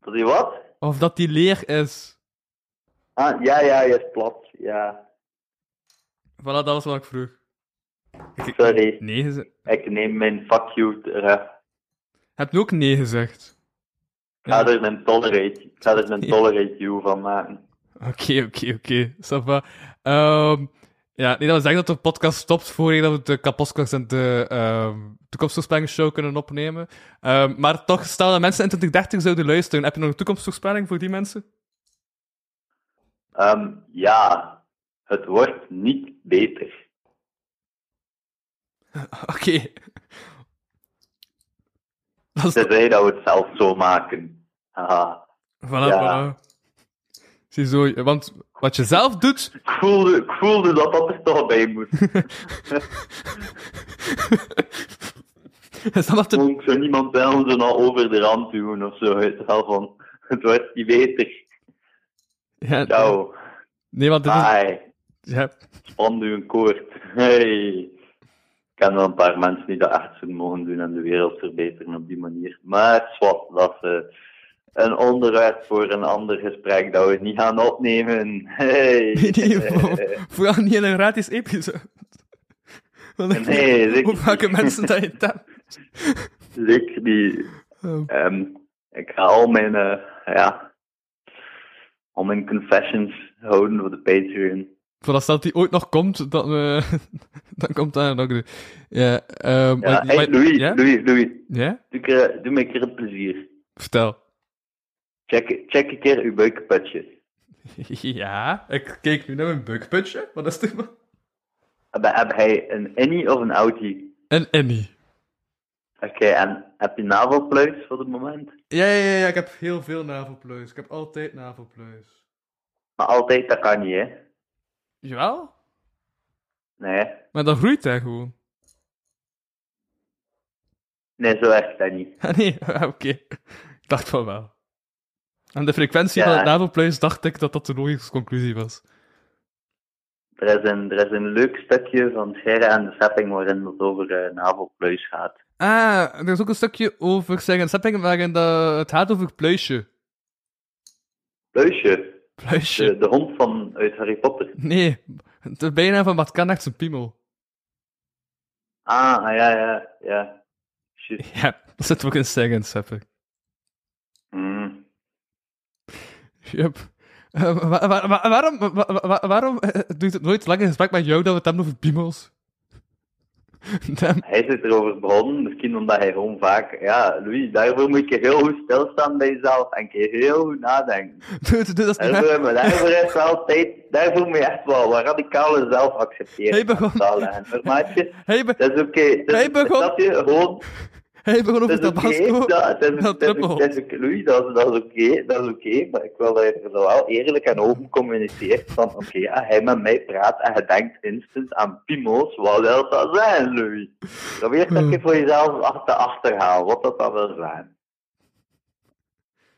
[SPEAKER 1] Dat hij wat?
[SPEAKER 3] Of dat die leeg is.
[SPEAKER 1] Ah, ja, ja, je is plat. Ja,
[SPEAKER 3] Voilà, dat was wat ik vroeg. Ik-
[SPEAKER 1] sorry.
[SPEAKER 3] Nee gezegd.
[SPEAKER 1] Ik neem mijn fuck you terug.
[SPEAKER 3] Heb je ook nee gezegd?
[SPEAKER 1] Ik ga
[SPEAKER 3] Ja.
[SPEAKER 1] er mijn tolerate, ik ga er mijn tolerate you van maken.
[SPEAKER 3] Oké, oké, oké. Ça va. Ehm, ja, nee, dat wil zeggen dat de podcast stopt voordat we de kapotkast en de ehm toekomstvoorspelling show kunnen opnemen. Ehm, maar toch, stel dat mensen in 2030 zouden luisteren. Heb je nog een toekomstvoorspelling voor die mensen?
[SPEAKER 1] Ehm, ja, het wordt niet beter.
[SPEAKER 3] Oké. Dat is...
[SPEAKER 1] Tenzij dat we het zelf zo maken. Haha.
[SPEAKER 3] Voilà,
[SPEAKER 1] Ja.
[SPEAKER 3] voilà. Ziezo, want wat je zelf doet,
[SPEAKER 1] Ik voelde, ik voelde dat dat er toch bij moest.
[SPEAKER 3] is dan dat de
[SPEAKER 1] Gewoon, Ik zou niemand bellen zo nou over de rand doen of zo. Het, wel van, het wordt niet beter.
[SPEAKER 3] Ja,
[SPEAKER 1] Ciao.
[SPEAKER 3] Nee, want dit is...
[SPEAKER 1] Bye.
[SPEAKER 3] Ja.
[SPEAKER 1] Span u een koord. Hey. Ik ken wel een paar mensen die dat echt zouden mogen doen en de wereld verbeteren op die manier. Maar zwart, dat is eh, een onderwerp voor een ander gesprek dat we niet gaan opnemen. Hey.
[SPEAKER 3] Nee, nee, voor- vooral niet in een gratis episode. Dan denk ik,
[SPEAKER 1] Nee, zeker
[SPEAKER 3] hoe vaak
[SPEAKER 1] niet.
[SPEAKER 3] mensen dat je tapt.
[SPEAKER 1] Zeker niet.
[SPEAKER 3] Oh.
[SPEAKER 1] Ehm, ik ga al mijn, eh, ja, al mijn confessions houden voor de Patreon.
[SPEAKER 3] Voordat dat die ooit nog komt, dan, eh, dan komt daar nog een. Ja, ehm,
[SPEAKER 1] Ja,
[SPEAKER 3] maar-
[SPEAKER 1] hey,
[SPEAKER 3] maar-
[SPEAKER 1] Louis,
[SPEAKER 3] ja?
[SPEAKER 1] Louis, Louis,
[SPEAKER 3] Ja?
[SPEAKER 1] doe, ik, eh, doe mij een keer een plezier.
[SPEAKER 3] Vertel.
[SPEAKER 1] Check, check een keer uw buikputje.
[SPEAKER 3] Ja, ik keek nu naar mijn bugputje. Wat is dit? man?
[SPEAKER 1] Heb, heb hij een innie of een outie?
[SPEAKER 3] En Annie.
[SPEAKER 1] Oké, en heb je navelpluis voor het moment?
[SPEAKER 3] Ja, ja, ja, ja, ik heb heel veel navelpleus. Ik heb altijd navelpleus.
[SPEAKER 1] Maar altijd, dat kan niet, hè?
[SPEAKER 3] Jawel?
[SPEAKER 1] Nee,
[SPEAKER 3] Maar dan groeit hij gewoon.
[SPEAKER 1] nee zo echt dat niet.
[SPEAKER 3] Ah, nee, ah, oké. Ik dacht van wel. Aan de frequentie
[SPEAKER 1] Ja.
[SPEAKER 3] van het navelpluis dacht ik dat dat de logische conclusie was.
[SPEAKER 1] Er is een, er is een leuk stukje van Scherre en de Sepping waarin het over eh, navelpluis gaat.
[SPEAKER 3] Ah, er is ook een stukje over zeggen Seppingen waarin dat het gaat over pluisje.
[SPEAKER 1] Pluisje,
[SPEAKER 3] Pluisje.
[SPEAKER 1] de, de hond van, uit Harry Potter.
[SPEAKER 3] Nee, de bijnaam van Bart Kannacht zijn piemel.
[SPEAKER 1] Ah, ah, ja, ja, ja. Shit.
[SPEAKER 3] Ja, dat zit ook in Sagan Sepper.
[SPEAKER 1] Mm.
[SPEAKER 3] Yep. Eh, wa- wa- wa- waarom wa- wa- wa- waarom eh, duurt het nooit lang in gesprek met jou dat we het hebben over piemels? Damn.
[SPEAKER 1] Hij zit erover begonnen, misschien omdat hij gewoon vaak... Ja, Louis, daarvoor moet je heel goed stilstaan bij jezelf en een keer heel goed nadenken.
[SPEAKER 3] Doe, doe, dat is niet waar.
[SPEAKER 1] Daarvoor, maar daarvoor is wel tijd... Daarvoor moet je echt wel wat radicale zelfacceptering
[SPEAKER 3] Hij begon-
[SPEAKER 1] aantallen. En, maar maatje,
[SPEAKER 3] Hij, be-
[SPEAKER 1] dat is oké. Het is-
[SPEAKER 3] Hij begon-
[SPEAKER 1] Snap je? Gewoon...
[SPEAKER 3] hij begon over
[SPEAKER 1] Dat is
[SPEAKER 3] Tabasco.
[SPEAKER 1] oké, dat- dat is-
[SPEAKER 3] dat
[SPEAKER 1] dat is-
[SPEAKER 3] druppel.
[SPEAKER 1] dat is oké, Louis, dat is dat is oké, dat is oké, maar ik wil dat je er zo wel eerlijk en open communiceert van, oké, ja, hij met mij praat en je denkt instant aan Pimo's, wat wil dat zijn, Louis? Dan weer dat je voor jezelf achter achterhaal, wat dat dan wil zijn.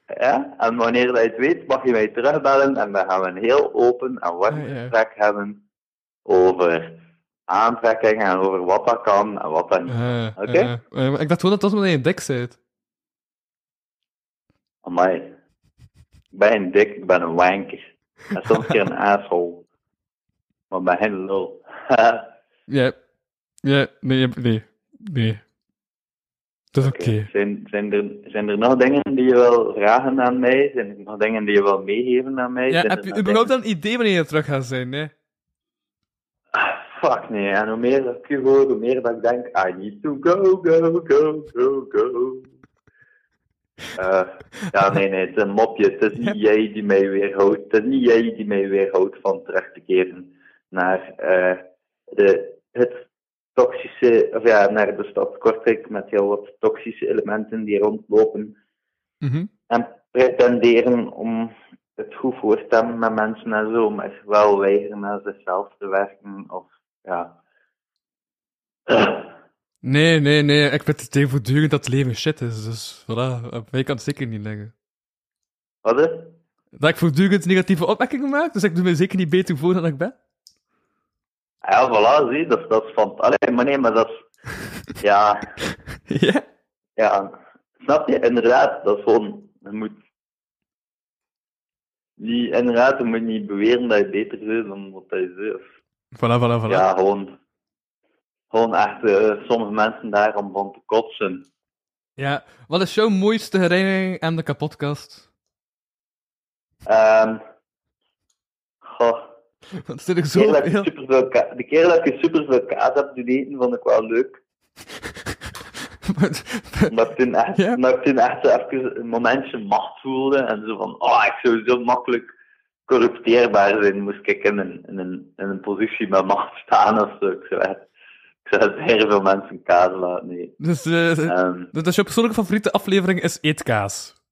[SPEAKER 1] Ja? En wanneer dat je het weet, mag je mij terugbellen en dan gaan we een heel open en warm
[SPEAKER 3] Ja, ja.
[SPEAKER 1] gesprek hebben over aantrekking en over wat dat kan en wat dat niet.
[SPEAKER 3] Eh,
[SPEAKER 1] Oké.
[SPEAKER 3] eh, eh, maar ik dacht gewoon dat dat omdat je een dik zit.
[SPEAKER 1] Amai. Ik ben een dik, ik ben een wanker. En soms een keer een asshole. Maar ik ben geen lul.
[SPEAKER 3] Ja. Ja, nee, je- nee. Nee. Dat is oké.
[SPEAKER 1] Zijn, zijn, er, zijn er nog dingen die je wil vragen aan mij? Zijn er nog dingen die je wil meegeven aan mij?
[SPEAKER 3] Ja,
[SPEAKER 1] Zijn er
[SPEAKER 3] heb je
[SPEAKER 1] nog
[SPEAKER 3] überhaupt
[SPEAKER 1] dingen-
[SPEAKER 3] al een idee wanneer je terug gaat zijn, nee?
[SPEAKER 1] Fuck nee, en hoe meer dat ik je hoor, hoe meer dat ik denk, I need to go, go, go, go, go. Eh, ja, nee, nee, het is een mopje. Het is niet jij die mij weerhoudt. Het is niet jij die mij weerhoudt van terug te keren naar eh, de, het toxische, of ja, naar de stad Kortrijk met heel wat toxische elementen die rondlopen
[SPEAKER 3] Mhm.
[SPEAKER 1] en pretenderen om het goed voor te hebben met mensen en zo, maar wel weigeren aan zichzelf te werken of ja.
[SPEAKER 3] Nee, nee, nee. Ik ben het idee voortdurend dat het leven shit is. Dus voilà, op mij kan het zeker niet liggen.
[SPEAKER 1] Wat is? het?
[SPEAKER 3] Dat ik voortdurend negatieve opmerkingen maak, dus ik doe me zeker niet beter voor dan ik ben.
[SPEAKER 1] Ah Ja, voilà, zie, dat, dat is van. Allee, maar nee, maar dat is. Ja,
[SPEAKER 3] Ja?
[SPEAKER 1] ja. Snap je? Inderdaad, dat is gewoon. Je moet. Die, inderdaad, je moet niet beweren dat je beter bent dan wat je zelf.
[SPEAKER 3] Voilà, voilà, voilà.
[SPEAKER 1] Ja, gewoon. Gewoon echt eh, sommige mensen daar om van te kotsen.
[SPEAKER 3] Ja, Wat is jouw mooiste herinnering aan de kapotkast?
[SPEAKER 1] Ehm goh,
[SPEAKER 3] Dat is natuurlijk
[SPEAKER 1] de keer dat ik
[SPEAKER 3] zoveel.
[SPEAKER 1] superveel ka- de keer dat ik superveel kaas heb doen eten, vond ik wel leuk. Omdat ik toen echt,
[SPEAKER 3] Ja.
[SPEAKER 1] omdat ik toen echt zo even een momentje macht voelde. En zo van, oh, ik zou zo makkelijk corrupteerbaar zijn. Moest ik in een, in een, in een positie met macht staan of zo. Ik zou echt, ik zou echt heel veel mensen kaas laten eten.
[SPEAKER 3] dus, eh,
[SPEAKER 1] Ehm,
[SPEAKER 3] dus dat is jouw persoonlijke favoriete aflevering is Eetkaas.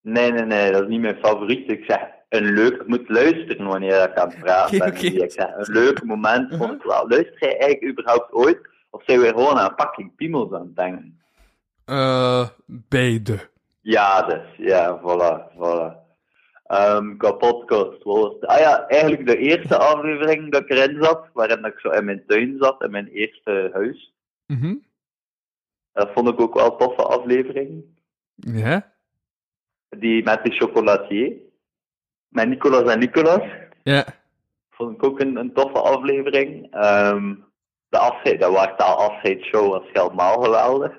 [SPEAKER 1] nee, nee, nee, dat is niet mijn favoriet. Ik zeg, een leuk, ik moet luisteren wanneer ik aan het praten
[SPEAKER 3] Oké,
[SPEAKER 1] ben.
[SPEAKER 3] oké. Uh-huh.
[SPEAKER 1] Ik zeg, een leuk moment vond ik wel. Luister jij eigenlijk überhaupt ooit? Of zijn we gewoon aan fucking piemels aan het denken?
[SPEAKER 3] Eh beide.
[SPEAKER 1] Ja, dus. Ja, voilà, voilà. Ehm qua podcast was... Ah ja, eigenlijk de eerste aflevering dat ik erin zat, waarin ik zo in mijn tuin zat, in mijn eerste huis.
[SPEAKER 3] Mhm.
[SPEAKER 1] Dat vond ik ook wel een toffe aflevering.
[SPEAKER 3] Ja?
[SPEAKER 1] Die met de chocolatier. Met Nicolas en Nicolas.
[SPEAKER 3] Ja.
[SPEAKER 1] Vond ik ook een, een toffe aflevering. Ehm, de afscheid, dat was de afscheidshow was helemaal geweldig.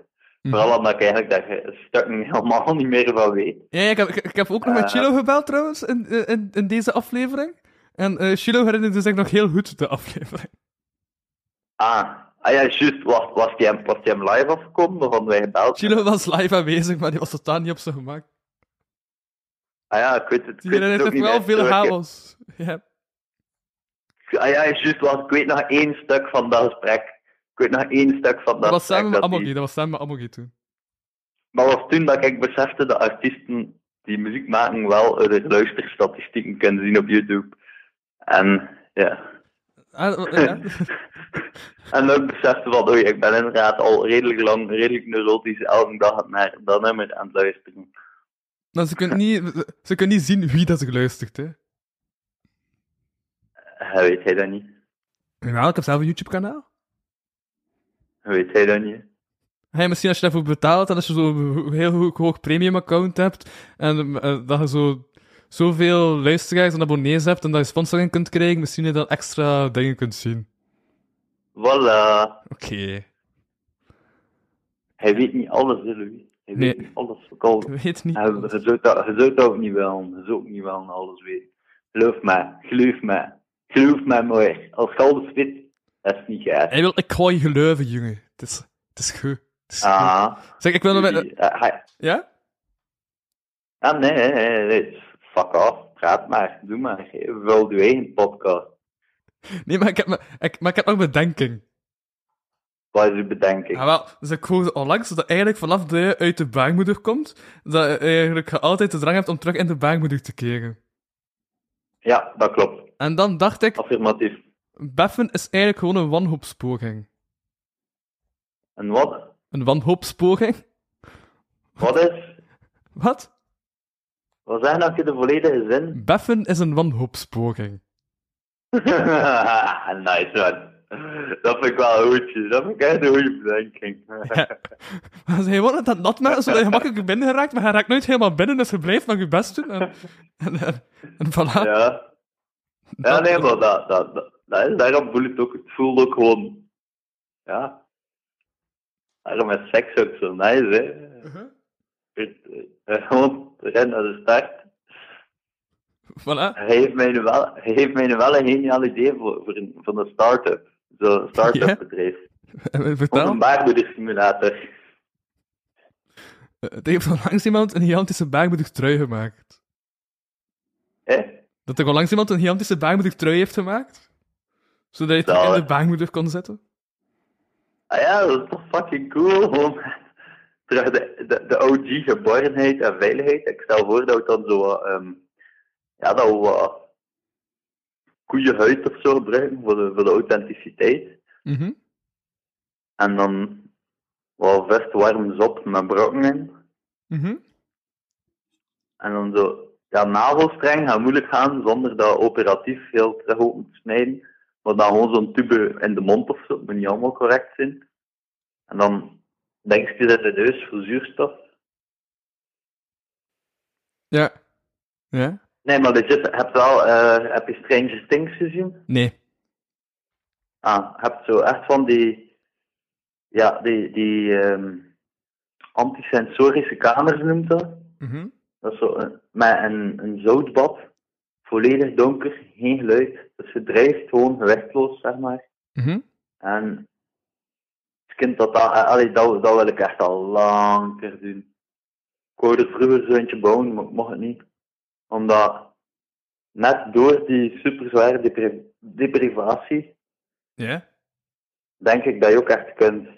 [SPEAKER 3] Mhm.
[SPEAKER 1] Vooral omdat ik eigenlijk daar stukken helemaal niet meer van weet.
[SPEAKER 3] Ja, ja, ik, heb, ik, ik heb ook nog met
[SPEAKER 1] Eh.
[SPEAKER 3] Chilo gebeld trouwens in, eh, in, in deze aflevering. En eh Chilo herinnerde zich nog heel goed de aflevering.
[SPEAKER 1] Ah, ah ja, juist, was, was, die hem, was die hem live afgekomen waarvan wij gebeld
[SPEAKER 3] Chilo was live aanwezig, maar die was totaal niet op zijn gemak.
[SPEAKER 1] Ah ja, ik weet het.
[SPEAKER 3] Die
[SPEAKER 1] ik weet het
[SPEAKER 3] herinnert
[SPEAKER 1] ook
[SPEAKER 3] ook
[SPEAKER 1] niet
[SPEAKER 3] wel
[SPEAKER 1] meer.
[SPEAKER 3] veel
[SPEAKER 1] Terwijl ik-
[SPEAKER 3] chaos. Ja.
[SPEAKER 1] Ah ja, juist, was, ik weet nog één stuk van dat gesprek. Ik weet nog één stuk van dat,
[SPEAKER 3] Dat was
[SPEAKER 1] gesprek
[SPEAKER 3] samen met
[SPEAKER 1] dat die-
[SPEAKER 3] Amogi, dat was samen met Amogi toen.
[SPEAKER 1] Maar was toen dat ik besefte dat artiesten die muziek maken wel de luisterstatistieken kunnen zien op YouTube. En ja.
[SPEAKER 3] Ah, ja.
[SPEAKER 1] en dat ik besefte van, oei, ik ben inderdaad al redelijk lang, redelijk neurotisch elke dag naar dat nummer aan het luisteren.
[SPEAKER 3] Maar ze kunnen niet, ze kunnen niet zien wie dat geluisterd hè.
[SPEAKER 1] Eh, Weet hij dat niet?
[SPEAKER 3] Ja, ik heb zelf een YouTube-kanaal.
[SPEAKER 1] Weet hij dat niet?
[SPEAKER 3] Hey, misschien als je daarvoor betaalt en als je zo'n heel hoog, hoog premium-account hebt en eh, dat je zo, zoveel luisteraars en abonnees hebt en dat je sponsoring kunt krijgen, misschien dat je dan extra dingen kunt zien.
[SPEAKER 1] Voilà.
[SPEAKER 3] Oké.
[SPEAKER 1] Hij weet niet alles, hè, Louis. Hij
[SPEAKER 3] Nee.
[SPEAKER 1] weet niet alles. Ook al,
[SPEAKER 3] Ik weet niet.
[SPEAKER 1] hij- je zou dat- je zou dat ook niet wel, je zou ook niet wel alles weten. Geloof mij, geloof mij. Geloof mij mooi. Als je alles weet, dat is niet gaaf.
[SPEAKER 3] Hij wil, ik ga je geloven, jongen. Het is, het is goed. Het is goed.
[SPEAKER 1] Ah,
[SPEAKER 3] Zeg, ik wil nog... wel-
[SPEAKER 1] Louis, eh, hij-
[SPEAKER 3] Ja?
[SPEAKER 1] ah nee, nee, nee, nee, fuck off. Praat maar, doe maar. Vul je eigen podcast.
[SPEAKER 3] Nee, maar ik heb, me- ik, maar ik heb nog bedenking.
[SPEAKER 1] Wat is uw bedenking?
[SPEAKER 3] Ja, wel, dus ik hoorde onlangs dat eigenlijk vanaf dat je uit de baarmoeder komt, dat je eigenlijk altijd de drang hebt om terug in de baarmoeder te keren.
[SPEAKER 1] Ja, dat klopt.
[SPEAKER 3] En dan dacht ik,
[SPEAKER 1] Affirmatief.
[SPEAKER 3] beffen is eigenlijk gewoon een wanhoopspoging.
[SPEAKER 1] En wat?
[SPEAKER 3] Een wanhoopspoging?
[SPEAKER 1] Wat is?
[SPEAKER 3] Wat?
[SPEAKER 1] Wat zijn dat je de volledige zin?
[SPEAKER 3] Beffen is een wanhoopspoging.
[SPEAKER 1] nice man. Dat vind ik wel een goedje. Dat vind ik echt een goede bedenking.
[SPEAKER 3] Ja. Maar ze gewoon dat nat maken, zodat je gemakkelijk binnen geraakt, maar je raakt nooit helemaal binnen, dus je blijft nog je best doen. En, en, en, en voilà.
[SPEAKER 1] ja. ja, nee, maar dat, dat, dat, dat is, daarom voel ik het ook. Het voelt ook gewoon. Ja. Daarom is seks ook zo nice, hè?
[SPEAKER 3] Uh-huh.
[SPEAKER 1] Het- eh, Gewoon ren naar de start.
[SPEAKER 3] Voilà.
[SPEAKER 1] Hij heeft mij nu wel, hij heeft mij nu wel een geniaal idee voor, voor, een, voor een start-up. Zo'n start-up
[SPEAKER 3] Ja?
[SPEAKER 1] bedrijf.
[SPEAKER 3] En
[SPEAKER 1] Gewoon een
[SPEAKER 3] Vertel.
[SPEAKER 1] baarmoedersimulator.
[SPEAKER 3] Er heeft onlangs iemand een gigantische baarmoedig trui gemaakt.
[SPEAKER 1] Hè?
[SPEAKER 3] Dat er onlangs iemand een gigantische baarmoedig trui heeft gemaakt. Zodat je het
[SPEAKER 1] Nou,
[SPEAKER 3] in de
[SPEAKER 1] hè.
[SPEAKER 3] baarmoeder kon zetten.
[SPEAKER 1] Ah ja, dat is toch fucking cool. gewoon. Terug de, de, de OG geborgenheid en veiligheid. Ik stel voor dat we dan zo wat, ehm, ja, dat we wat koeienhuid of zo gebruiken voor de, voor de authenticiteit.
[SPEAKER 3] Mhm.
[SPEAKER 1] En dan wat vest warm zop met brokken in.
[SPEAKER 3] Mhm.
[SPEAKER 1] En dan zo, ja, navelstreng gaat moeilijk gaan zonder dat operatief heel terug open te snijden. Maar dan gewoon zo'n tube in de mond of zo, het moet niet allemaal correct zijn. En dan denk je dat de neus voor zuurstof.
[SPEAKER 3] Ja. Ja?
[SPEAKER 1] Nee, maar legit, heb je wel, eh, heb je Stranger Things gezien?
[SPEAKER 3] Nee.
[SPEAKER 1] Ah, heb zo echt van die, ja, die, die ehm, antisensorische kamers noemt dat.
[SPEAKER 3] Mhm.
[SPEAKER 1] Dat is zo een, met een, een zoutbad. Volledig donker, geen geluid. Dus je drijft gewoon gewichtloos, zeg maar.
[SPEAKER 3] Mhm.
[SPEAKER 1] En het kind dat, dat, eh, allee, dat, dat wil ik echt al lang een keer doen. Ik wou er vroeger zo eentje bouwen, maar ik mocht het niet. Omdat net door die super zware deprivatie,
[SPEAKER 3] Ja?
[SPEAKER 1] denk ik dat je ook echt kunt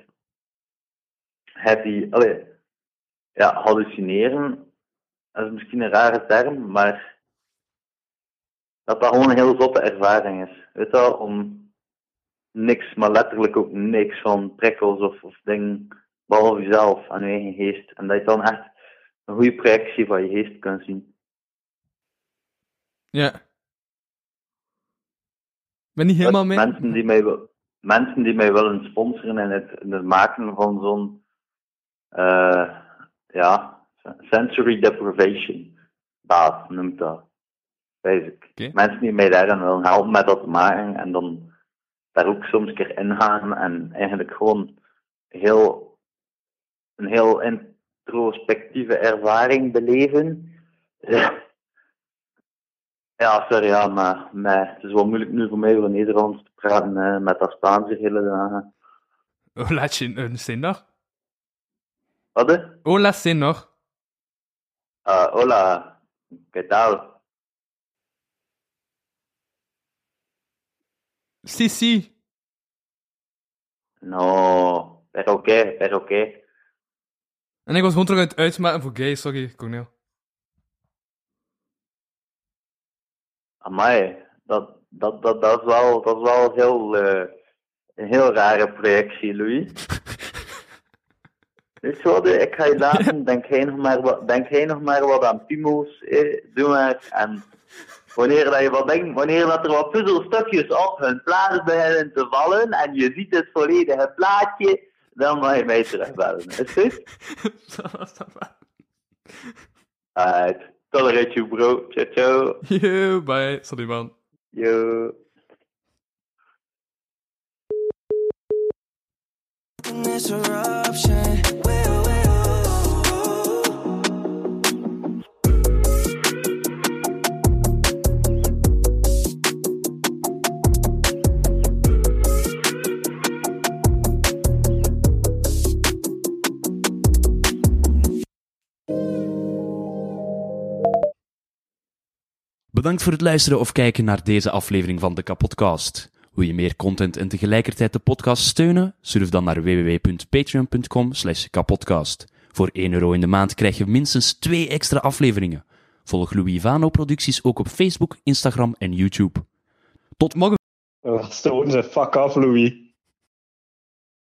[SPEAKER 1] happy, allee, ja, hallucineren. Dat is misschien een rare term, maar dat dat gewoon een heel zotte ervaring is. Weet je wel, om niks, maar letterlijk ook niks van prikkels of, of dingen, behalve jezelf en je eigen geest. En dat je dan echt een goede projectie van je geest kunt zien.
[SPEAKER 3] Ja. Ben niet helemaal mee.
[SPEAKER 1] Mensen die mij, wil- mensen die mij willen sponsoren in het, in het maken van zo'n eh, ja, sensory deprivation baat, noemt dat. Basic.
[SPEAKER 3] Oké.
[SPEAKER 1] Mensen die mij daarin willen helpen met dat maken en dan daar ook soms een keer ingaan en eigenlijk gewoon heel, een heel introspectieve ervaring beleven. Ja, sorry, ja, maar, maar het is wel moeilijk nu voor mij over Nederlands te praten eh, met dat Spaans de hele dagen.
[SPEAKER 3] Hola, chin- eh, Sindag.
[SPEAKER 1] Wat? hè?
[SPEAKER 3] Hola, Sindag.
[SPEAKER 1] Ah, hola, ¿qué tal?
[SPEAKER 3] Si, si.
[SPEAKER 1] No, pero qué, pero qué.
[SPEAKER 3] En ik was gewoon terug aan het uitmaken voor gay, sorry, Cornel.
[SPEAKER 1] Amai, dat, dat, dat, dat, is, wel, dat is wel heel, eh, een heel rare projectie, Louis. Dus wat, eh, ik ga je laten, denk jij nog maar wat, denk jij nog maar wat aan Pimo's, eh, doe maar. En wanneer dat je wat denkt, wanneer dat er wat puzzelstukjes op hun plaats beginnen te vallen en je ziet het volledige plaatje, dan mag je mij terugbellen. Is het goed?
[SPEAKER 3] Dat was dat waar.
[SPEAKER 1] Alright, tolerate you bro, ciao ciao,
[SPEAKER 3] Yo, bye. Sorry, man.
[SPEAKER 1] yo.
[SPEAKER 4] in this eruption. Woo, woo.
[SPEAKER 8] Bedankt voor het luisteren of kijken naar deze aflevering van de Kapodcast. Wil je meer content en tegelijkertijd de podcast steunen? Surf dan naar www.patreon.com slash kapodcast. Voor 1 euro in de maand krijg je minstens 2 extra afleveringen. Volg Louis Vano producties ook op Facebook, Instagram en YouTube.
[SPEAKER 3] Tot morgen.
[SPEAKER 9] Stoten ze fuck af, Louis.